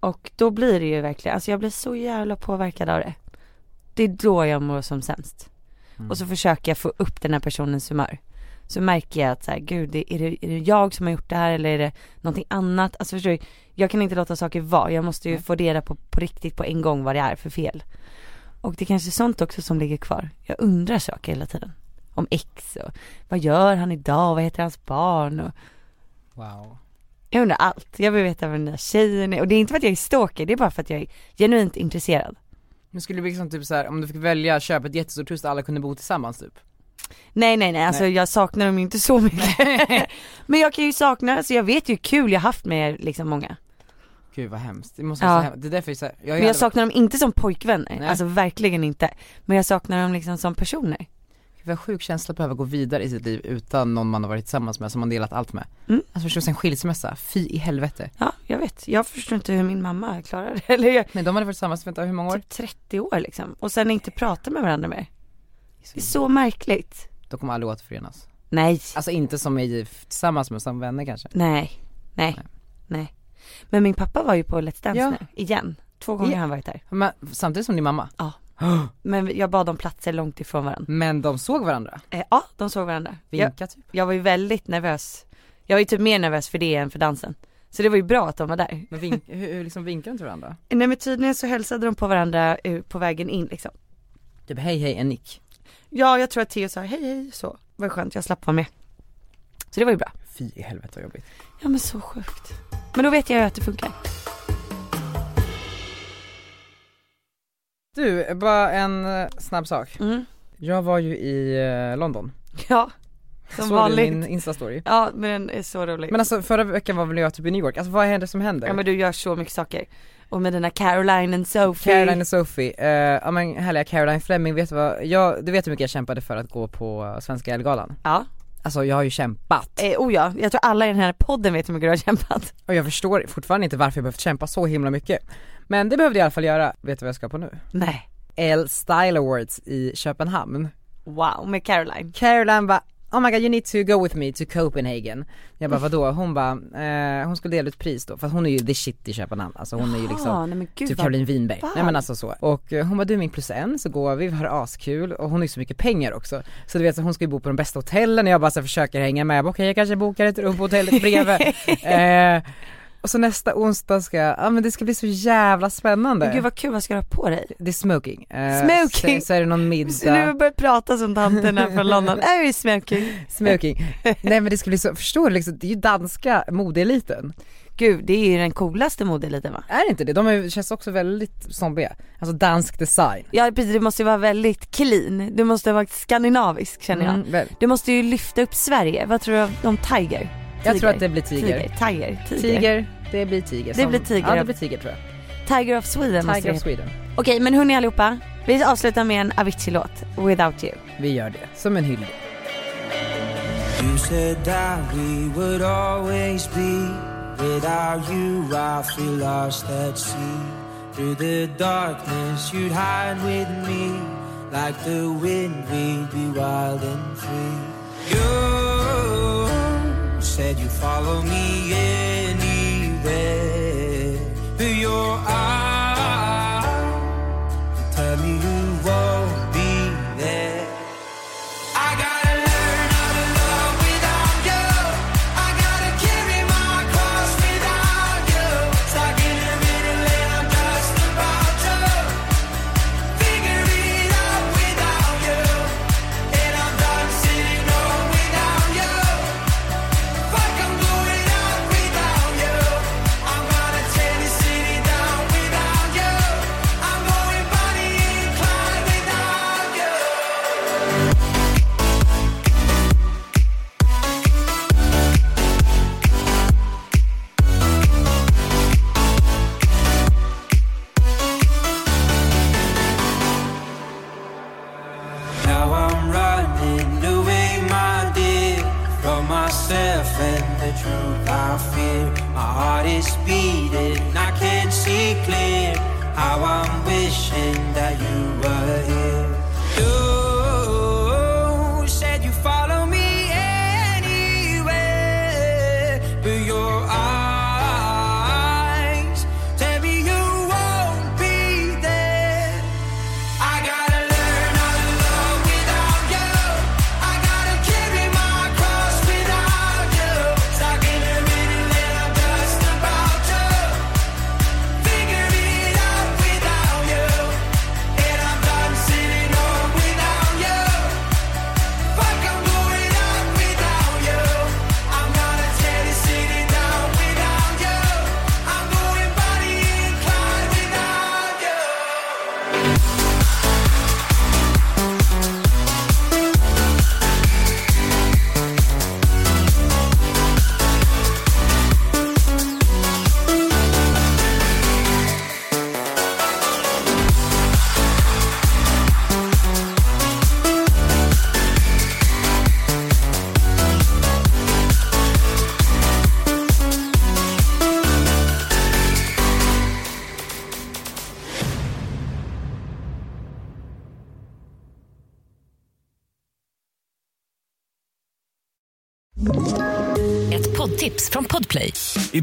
S3: Och då blir det ju verkligen, alltså jag blir så jävla påverkad av det. Det är då jag mår som sämst. Och så försöker jag få upp den här personens humör. Så märker jag att så här, gud det- är det, är det jag som har gjort det här eller är det någonting annat? Alltså förstår du, jag kan inte låta saker vara. Jag måste ju få reda på, på riktigt på en gång vad det är för fel. Och det är kanske är sånt också som ligger kvar. Jag undrar saker hela tiden. Om ex och vad gör han idag, vad heter hans barn och
S4: Wow.
S3: jag undrar allt. Jag vill veta vem den där tjejen är och det är inte för att jag är stalker, det är bara för att jag är genuint intresserad.
S4: Men skulle det bli liksom typ så här, om du fick välja köpa ett jättestort hus där alla kunde bo tillsammans typ?
S3: Nej nej nej, alltså jag saknar dem ju inte så mycket. Men jag kan ju sakna, alltså jag vet ju hur kul jag haft med liksom många.
S4: Okej gud vad hemskt, det måste
S3: Ja.
S4: vara så hemskt. Det är därför jag, är så här, jag, har ju
S3: Men jag
S4: aldrig-
S3: saknar dem inte som pojkvänner,
S4: Nej.
S3: alltså verkligen inte. Men jag saknar dem liksom som personer.
S4: Gud, vad sjuk känsla att behöva gå vidare i sitt liv utan någon man har varit tillsammans med, som man delat allt med.
S3: Mm.
S4: Alltså förstås en skilsmässa, fy i helvete.
S3: Ja, jag vet. Jag förstår inte hur min mamma klarar det. Eller jag,
S4: Men de hade varit tillsammans, vänta hur många år?
S3: typ 30 år liksom. Och sen inte prata med varandra mer. Det är så märkligt.
S4: De Typ. kommer aldrig återförenas.
S3: Nej,
S4: Alltså inte som är tillsammans men som vänner kanske.
S3: nej, nej, nej. Men min pappa var ju på Let's Dance
S4: Ja.
S3: nu, igen. Två gånger
S4: Ja.
S3: har han varit där.
S4: Men, samtidigt som din mamma.
S3: Men jag bad om platser långt ifrån varandra.
S4: Men de såg varandra,
S3: Eh, ja, de såg varandra. Jag,
S4: vinka typ.
S3: jag var ju väldigt nervös. Jag var ju typ mer nervös för det än för dansen. Så det var ju bra att de var där.
S4: Men vink, hur, hur liksom vinkar de till varandra?
S3: Eh, Nej men tydligen så hälsade de på varandra eh, på vägen in liksom.
S4: Typ hej hej en nick.
S3: Ja, jag tror att Theo sa hej hej så. Det var skönt, jag slapp vara med. Så det var ju bra.
S4: Fy i helvete vad jobbigt.
S3: Ja men så sjukt. Men då vet jag ju att det funkar.
S4: Du, bara en eh, snabb sak.
S3: Mm.
S4: Jag var ju i eh, London.
S3: Ja, som
S4: Såg
S3: vanligt.
S4: du min instastory?
S3: Ja men den är så rolig.
S4: Men alltså förra veckan var väl jag typ i New York, alltså vad är det som händer?
S3: ja men du gör så mycket saker. Och med dina Caroline and Sophie.
S4: Caroline och Sophie, eh, ja men härliga Caroline Fleming, vet du vad, jag, du vet hur mycket jag kämpade för att gå på eh, Svenska Ellegalan?
S3: Ja.
S4: Alltså jag har ju kämpat,
S3: Eh, oh ja, jag tror alla i den här podden vet hur mycket du har kämpat.
S4: och jag förstår fortfarande inte varför jag behövt kämpa så himla mycket. Men det behövde jag i alla fall göra, vet du vad jag ska på nu?
S3: Nej.
S4: L Style Awards i Köpenhamn.
S3: Wow, med Caroline.
S4: Caroline bara Oh my god you need to go with me to Copenhagen. Jag bara vadå? Hon bara, eh, hon skulle dela ut pris då, för hon är ju the shit i Köpenhamn, alltså hon är ju liksom
S3: ah, nej men gud
S4: typ
S3: vad...
S4: Caroline Winberg.
S3: ball.
S4: Nej men alltså så. Och eh, hon bara du är min plus en så går vi, vi har askul och hon har ju så mycket pengar också. Så du vet så hon ska ju bo på de bästa hotellen och jag bara så här, försöker hänga med. Jag bara, Okej jag kanske bokar ett rum på hotellet bredvid. eh, och så nästa onsdag ska, jag- ja men det ska bli så jävla spännande.
S3: Men gud vad kul, vad ska du ha på dig?
S4: Det är smoking. Eh,
S3: Smoking?
S4: Så, så är det någon
S3: Nu har
S4: middag.
S3: jag börjat prata som tanterna från London. Är du smoking?
S4: Smoking. Nej men det ska bli så, förstår du liksom, det är ju danska modeeliten.
S3: Gud, det är ju den coolaste modeliten va?
S4: Är det inte det? De är, känns också väldigt zombiga. Alltså dansk design.
S3: Ja precis, du måste ju vara väldigt clean. Du måste vara skandinavisk känner jag.
S4: Mm, väl.
S3: Du måste ju lyfta upp Sverige. Vad tror du om Tiger?
S4: jag tror att det blir tiger.
S3: Tiger, tiger, tiger.
S4: Tiger, det blir tiger.
S3: Det blir tiger.
S4: Ja det blir tiger tror jag.
S3: Tiger of Sweden måste det
S4: Tiger of
S3: heta.
S4: Sweden.
S3: Okej men hörni allihopa, vi avslutar med en Avicii-låt, Without You.
S4: Vi gör det, som en hyllning.
S6: You said that we would always be without you. I feel lost at sea. Through the darkness, you'd hide with me. Like the wind, we'd be wild and free. You said you'd follow me anywhere. But your eyes tell me you won't be there. I gotta learn how to love without you. I gotta carry my cross without you. Stuck in a middle and I'm just about to figure it out without you. And I'm done sitting home without you. Fuck, I'm going out without you. I'm gonna tear the city down without you. I'm going body and climb without you. Now I'm running away, my dear, from myself and the truth I fear. My heart is beating, I can't see clear. How I'm wishing that you were here. You said you follow me anywhere, but your eyes tell me you won't be there. I gotta learn how to love without you. I gotta carry my cross without you. Stuck in the middle and I'm just about to
S7: tips från Podplay.
S8: I